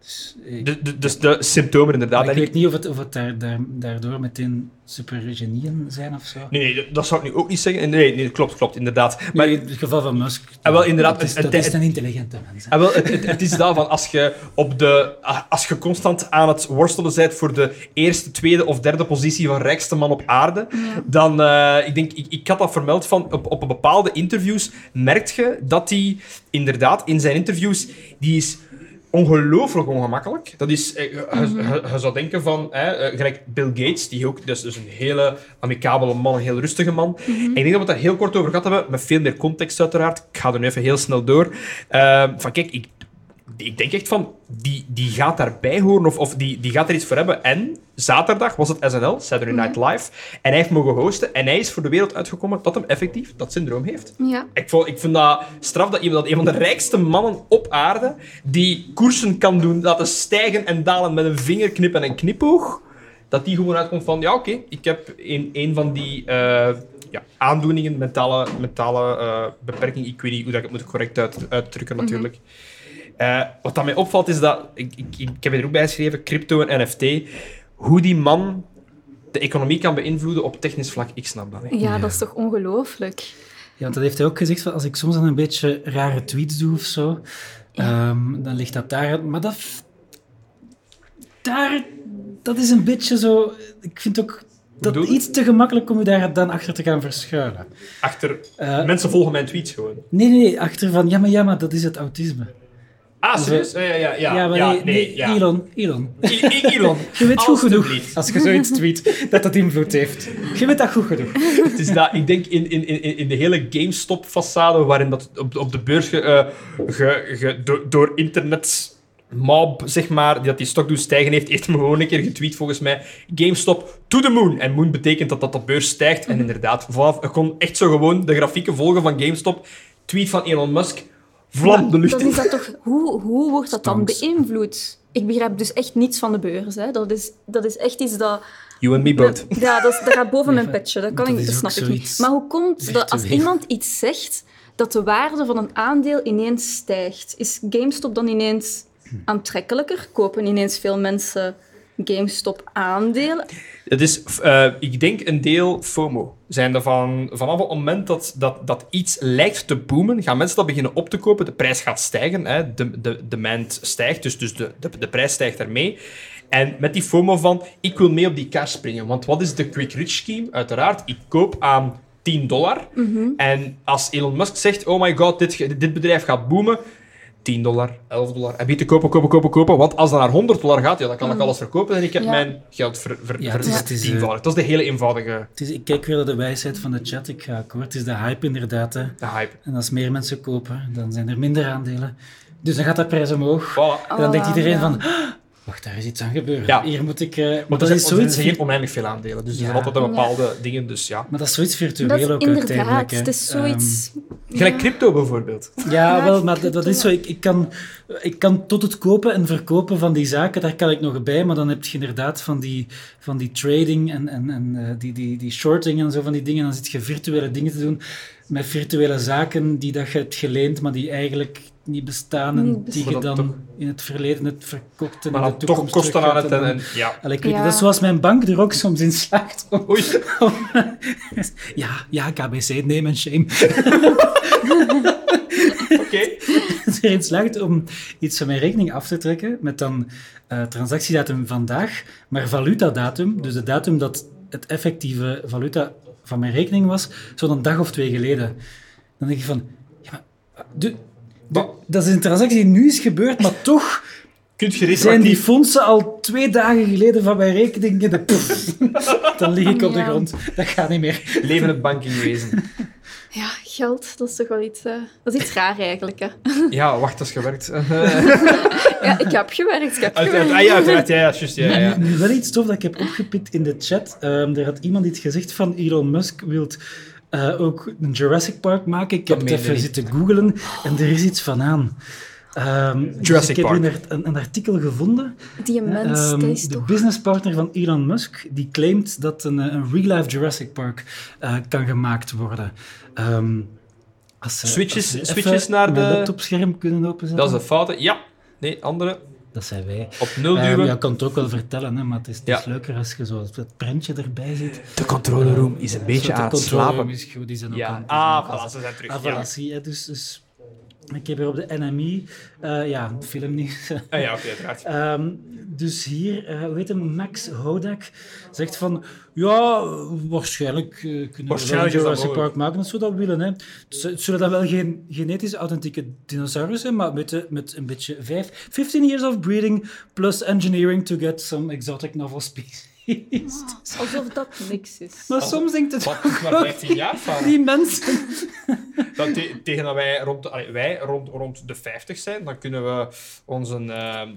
A: dus ik,
B: De, de, dus de symptomen
A: maar
B: inderdaad.
A: ik
B: En ik-
A: weet niet of het, of het daar, daar, daardoor meteen supergenieën zijn of zo.
B: nee, nee, dat- dat zou ik nu ook niet zeggen. Nee, nee klopt, klopt, inderdaad. Maar
A: Maar in het geval van Musk,
B: Ah, wel, inderdaad,
A: dat is,
B: het-
A: dat
B: het-
A: is een intelligente mens. hè.
B: Ah, wel, het, het, het is dat van als je, op de, ah, als je constant aan het worstelen bent voor de eerste, tweede of derde positie van rijkste man op aarde, dan, eh, ik denk, ik, ik had dat vermeld van, op, op bepaalde interviews merkt je dat hij inderdaad in zijn interviews, die is ongelooflijk ongemakkelijk. Dat is, eh, je- je je zou denken van, hè, eh, gelijk Bill Gates, die ook, dus, dus een hele amicabele man, een heel rustige man. En ik denk dat we het daar heel kort over gehad hebben, met veel meer context uiteraard. Ik ga er nu even heel snel door. Eh, van kijk, ik, ik denk echt van, die, die gaat daarbij horen of, of die, die gaat er iets voor hebben. En zaterdag was het SNL, Saturday Night Live, en hij heeft mogen hosten en hij is voor de wereld uitgekomen dat hem effectief dat syndroom heeft.
C: Ja.
B: Ik, vond, ik vind dat straf dat iemand dat een van de rijkste mannen op aarde die koersen kan doen, laten stijgen en dalen met een vingerknip en een knipoog, dat die gewoon uitkomt van ja oké, ik heb in een van die eh, ja, aandoeningen, mentale, mentale eh, beperking, ik weet niet hoe dat ik het moet correct uit, uitdrukken natuurlijk. Eh, wat dat mij opvalt is dat, ik, ik, ik heb er ook bij geschreven, crypto en NFT, hoe die man de economie kan beïnvloeden op technisch vlak, ik snap dat niet.
C: ja, dat is toch ongelooflijk?
A: Ja, want dat heeft hij ook gezegd. van, Als ik soms dan een beetje rare tweets doe of zo, ehm, dan ligt dat daar. Maar dat, daar, dat is een beetje zo. Ik vind ook dat
B: bedoel je?
A: iets te gemakkelijk om je daar dan achter te gaan verschuilen.
B: Achter,
A: Eh,
B: mensen volgen mijn tweets gewoon.
A: nee, nee, nee, achter van ja, maar ja, maar dat is het autisme.
B: Ah, serieus? Ja, ja, ja. Ja,
A: Dus ja, maar
B: ja,
A: nee, nee,
B: ja.
A: Elon, Elon.
B: I- I- Elon.
A: Je weet goed
B: Alstublieft.
A: genoeg als je zoiets tweet dat dat invloed heeft. Je weet dat goed genoeg.
B: Het is dat, ik denk in, in, in, in de hele GameStop-façade, waarin dat op, de- op de beurs ge, eh, ge- ge- door, door internet mob, zeg maar, die dat die stok doet stijgen heeft, heeft hem gewoon een keer getweet volgens mij. GameStop to the moon. En moon betekent dat dat de beurs stijgt.
A: Mhm.
B: En inderdaad, vanaf, ik kon echt zo gewoon de grafieken volgen van GameStop. Tweet van Elon Musk. Vlam de lucht
C: Dat
B: in.
C: is dat toch, hoe, hoe wordt dat dan
A: Stonks.
C: beïnvloed? Ik begrijp dus echt niets van de beurs. Hè. Dat, is, dat is echt iets dat
B: You and me both.
C: Ja, dat, is- dat gaat boven mijn petje. Dat, kan
A: Dat
C: ik,
A: is
C: dat
A: ook
C: snap ik
A: zoiets
C: niet. Maar hoe komt
A: echt
C: dat als
A: te veel.
C: iemand iets zegt, dat de waarde van een aandeel ineens stijgt? Is GameStop dan ineens aantrekkelijker? Kopen ineens veel mensen GameStop-aandelen?
B: Het is, f- eh, ik denk, een deel FOMO. Zijn er van, vanaf het moment dat, dat, dat iets lijkt te boomen, gaan mensen dat beginnen op te kopen. De prijs gaat stijgen, hè. De, de demand stijgt, dus, dus de, de, de prijs stijgt daarmee. En met die FOMO van, ik wil mee op die kaars springen. Want wat is de quick rich scheme? Uiteraard, ik koop aan 10 dollar. En als Elon Musk zegt, oh my god, dit, ge- dit bedrijf gaat boomen, 10 dollar, 11 dollar. En wie te kopen, kopen, kopen, kopen. Want als dat naar 100 dollar gaat, ja, dan kan ik alles verkopen en ik heb
C: Ja.
B: mijn geld ver, ver,
A: Ja,
B: ver-
A: het is- het is, eh,
B: vertienvoudigd. Dat is de hele eenvoudige
A: Het is, ik kijk weer naar de wijsheid van de chat. Ik ga akkoord. Het is de hype inderdaad. Hè.
B: de hype.
A: En als meer mensen kopen, dan zijn er minder aandelen. Dus dan gaat de prijs omhoog.
B: Voilà.
A: En dan denkt
C: Oh,
A: iedereen
C: ja.
A: van... "Ah, Wacht, daar is iets aan gebeurd.
B: Ja.
A: Hier moet ik... eh, maar
B: Want
A: dat
B: er
A: is
B: zijn, er
A: zoiets...
B: zijn geen
A: vir-
B: oneindig veel aandelen. Dus er zijn
A: Ja.
B: altijd een bepaalde dingen. Dus ja.
A: Maar dat is zoiets virtueel
C: Dat is
A: ook
C: inderdaad,
A: uiteindelijk. hè.
C: het is zoiets...
B: Gelijk crypto bijvoorbeeld.
A: Ehm, ja,
C: Ja,
A: wel, maar dat,
C: crypto.
A: dat is zo. Ik, ik, kan, ik kan tot het kopen en verkopen van die zaken, daar kan ik nog bij. Maar dan heb je inderdaad van die, van die trading en, en, en eh, die, die, die shorting en zo van die dingen. Dan zit je virtuele dingen te doen met virtuele zaken die dat je hebt geleend, maar die eigenlijk niet bestaan. En
C: Niet
A: die
B: Maar
A: je
B: dat
A: dan
B: toch-
A: in het verleden hebt verkocht en
B: Maar
A: in
B: dan
A: de
B: toch
A: toekomst
B: kosten aan
A: teruggaat
B: het.
A: en
B: En,
A: dan-
B: en- ja.
A: Allee, ik weet niet,
C: Ja.
A: Dat is zoals mijn bank er ook soms in slaagt om
B: Oei.
A: ja, ja, KBC, name and shame.
B: Oké.
A: Het erin slaagt om iets van mijn rekening af te trekken met dan eh, transactiedatum vandaag, maar valutadatum, dus de datum dat het effectieve valuta van mijn rekening was, zo'n een dag of twee geleden. Dan denk je van, ja, maar, eh, de- de- dat is een transactie die nu is gebeurd, maar toch
B: Kunt je
A: zijn die
B: retroactief.
A: fondsen al twee dagen geleden van mijn rekening. in de- Pff, dan lig ik op de
C: Ja.
A: grond. Dat gaat niet meer.
B: Leven het bankingwezen.
C: Ja, geld, dat is toch wel iets... eh, dat is iets raar eigenlijk, hè.
B: Ja, wacht, dat is gewerkt.
C: Ja, ik heb gewerkt, ik heb
B: Uit,
C: gewerkt.
B: uit, ah, ja, uiteraard. Ja, ja, juist. Ja, ja,
A: En
B: ja.
A: Nu, nu wel iets tof dat ik heb opgepikt in de chat. Ehm, er had iemand iets gezegd van Elon Musk wilt eh, ook een Jurassic Park maken. Ik
B: Dat
A: heb het
B: meen je
A: even
B: niet.
A: zitten googlen en er is iets van aan. Ehm, dus
B: Jurassic
A: ik heb
B: Park.
A: een, een, een artikel gevonden.
C: Die mens,
A: Ehm,
C: dat is
A: de
C: toch...
A: businesspartner van Elon Musk die claimt dat een, eh, een real-life Jurassic Park eh, kan gemaakt worden. Ehm, als, eh,
B: Switches-
A: als we even
B: switches naar
A: mijn
B: de-
A: laptopscherm kunnen openzetten.
B: Dat is een fout. Ja. Nee, andere.
A: dat zijn wij.
B: Op nul
A: Ehm,
B: duwen.
A: ja, ik kan het ook wel vertellen, hè, maar het is, het
B: Ja.
A: is leuker als je zo het prentje erbij ziet.
B: De controle room is een
A: Zo, de controle is goed, die zijn ook aan
B: Ja.
A: het
B: Ah,
A: doen.
B: voilà, ze zijn terug.
A: Ah, voilà,
B: ja.
A: zie je, dus, dus ik heb hier op de NMI, eh, ja, film niet.
B: Ah, ja, oké, uiteraard.
A: Ehm, dus hier, eh, hoe heet hem, Max Hodak, zegt van, ja, waarschijnlijk eh, kunnen
B: Waarschijnlijk
A: we
B: is
A: wel een
B: dat
A: Jurassic
B: mogelijk.
A: Park maken als we dat willen. Hè. Het z- Het zullen dan wel geen genetisch authentieke dinosaurus zijn, maar met, de- met een beetje vijf, 15 years of breeding plus engineering to get some exotic novel species.
C: Alsof dat niks is.
A: Maar soms denkt het
B: Wat is maar 15 jaar van?
A: die mensen...
B: Dat te- tegen dat wij rond, de- allee, wij rond, rond de 50 zijn, dan kunnen we onze ehm,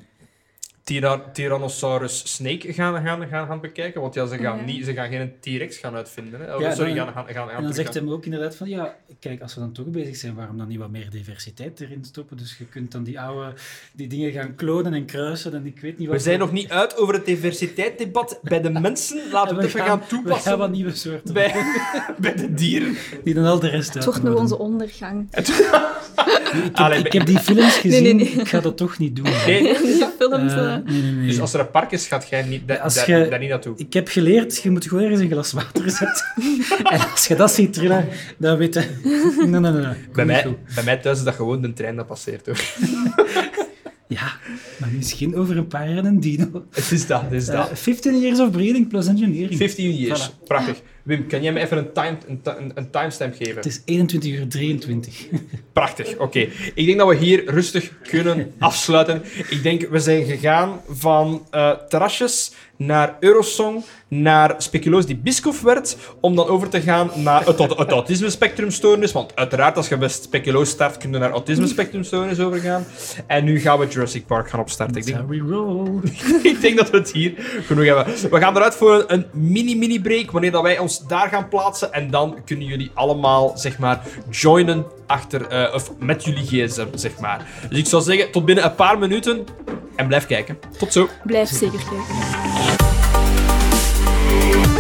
B: tyra- Tyrannosaurus Snake gaan, gaan, gaan, gaan bekijken. Want ja, ze gaan,
C: Ja.
B: niet, ze gaan geen T-Rex gaan uitvinden. Hè. Oh,
A: Ja,
B: sorry,
A: dan-
B: gaan, gaan, gaan, gaan
A: En dan
B: terug
A: zegt
B: gaan-
A: hem ook inderdaad van, ja, kijk, als we dan toch bezig zijn, waarom dan niet wat meer diversiteit erin stoppen? Dus je kunt dan die oude, die dingen gaan klonen en kruisen en ik weet niet wat...
B: We zijn nog niet uit over het diversiteitsdebat bij de mensen.
A: En
B: Laten we het even gaan
A: We gaan
B: toepassen
A: wat nieuwe soorten
B: bij, bij de dieren.
A: die dan al de rest
C: Het wordt nog onze ondergang.
A: Ik heb,
B: Allee,
A: ik heb die films gezien,
C: Nee, nee, nee.
A: ik ga dat toch niet doen.
B: Nee,
C: Die films,
A: Eh,
C: eh,
A: nee, nee, nee.
B: Dus als er een park is, gaat jij niet, da-
A: Als
B: da-
A: je-
B: daar niet naartoe.
A: Ik heb geleerd, je moet gewoon ergens een glas water zetten. en als je dat ziet trillen, dan weet je... Nee, nee, nee. nee. Kom
B: Bij
A: niet
B: mij,
A: goed.
B: bij mij thuis is dat gewoon de trein dat passeert. Hoor.
A: Ja, maar misschien over een paar jaar een dino.
B: Het is dat, het is dat.
A: Eh, 15 years of breeding plus engineering.
B: 15 years.
A: Voilà.
B: Prachtig. Wim, kan jij me even een, time, een, ti- een, een timestamp geven?
A: Het is 21 uur 23.
B: Prachtig, oké. Ik denk dat we hier rustig kunnen afsluiten. Ik denk, we zijn gegaan van eh, terrasjes naar Eurosong, naar speculoos die biscoff werd, om dan over te gaan naar het, aut- het autisme-spectrumstoornis. Want uiteraard, als je bij speculoos start, kun je naar autisme-spectrumstoornis overgaan. En nu gaan we Jurassic Park gaan opstarten. Ik denk,
A: Sorry, roll.
B: ik denk dat we het hier genoeg hebben. We gaan eruit voor een mini-mini-break, wanneer dat wij ons daar gaan plaatsen. En dan kunnen jullie allemaal, zeg maar, joinen achter, eh, of met jullie gsm, zeg maar. Dus ik zou zeggen, tot binnen een paar minuten en blijf kijken. Tot zo.
C: blijf zeker kijken.
E: Thank you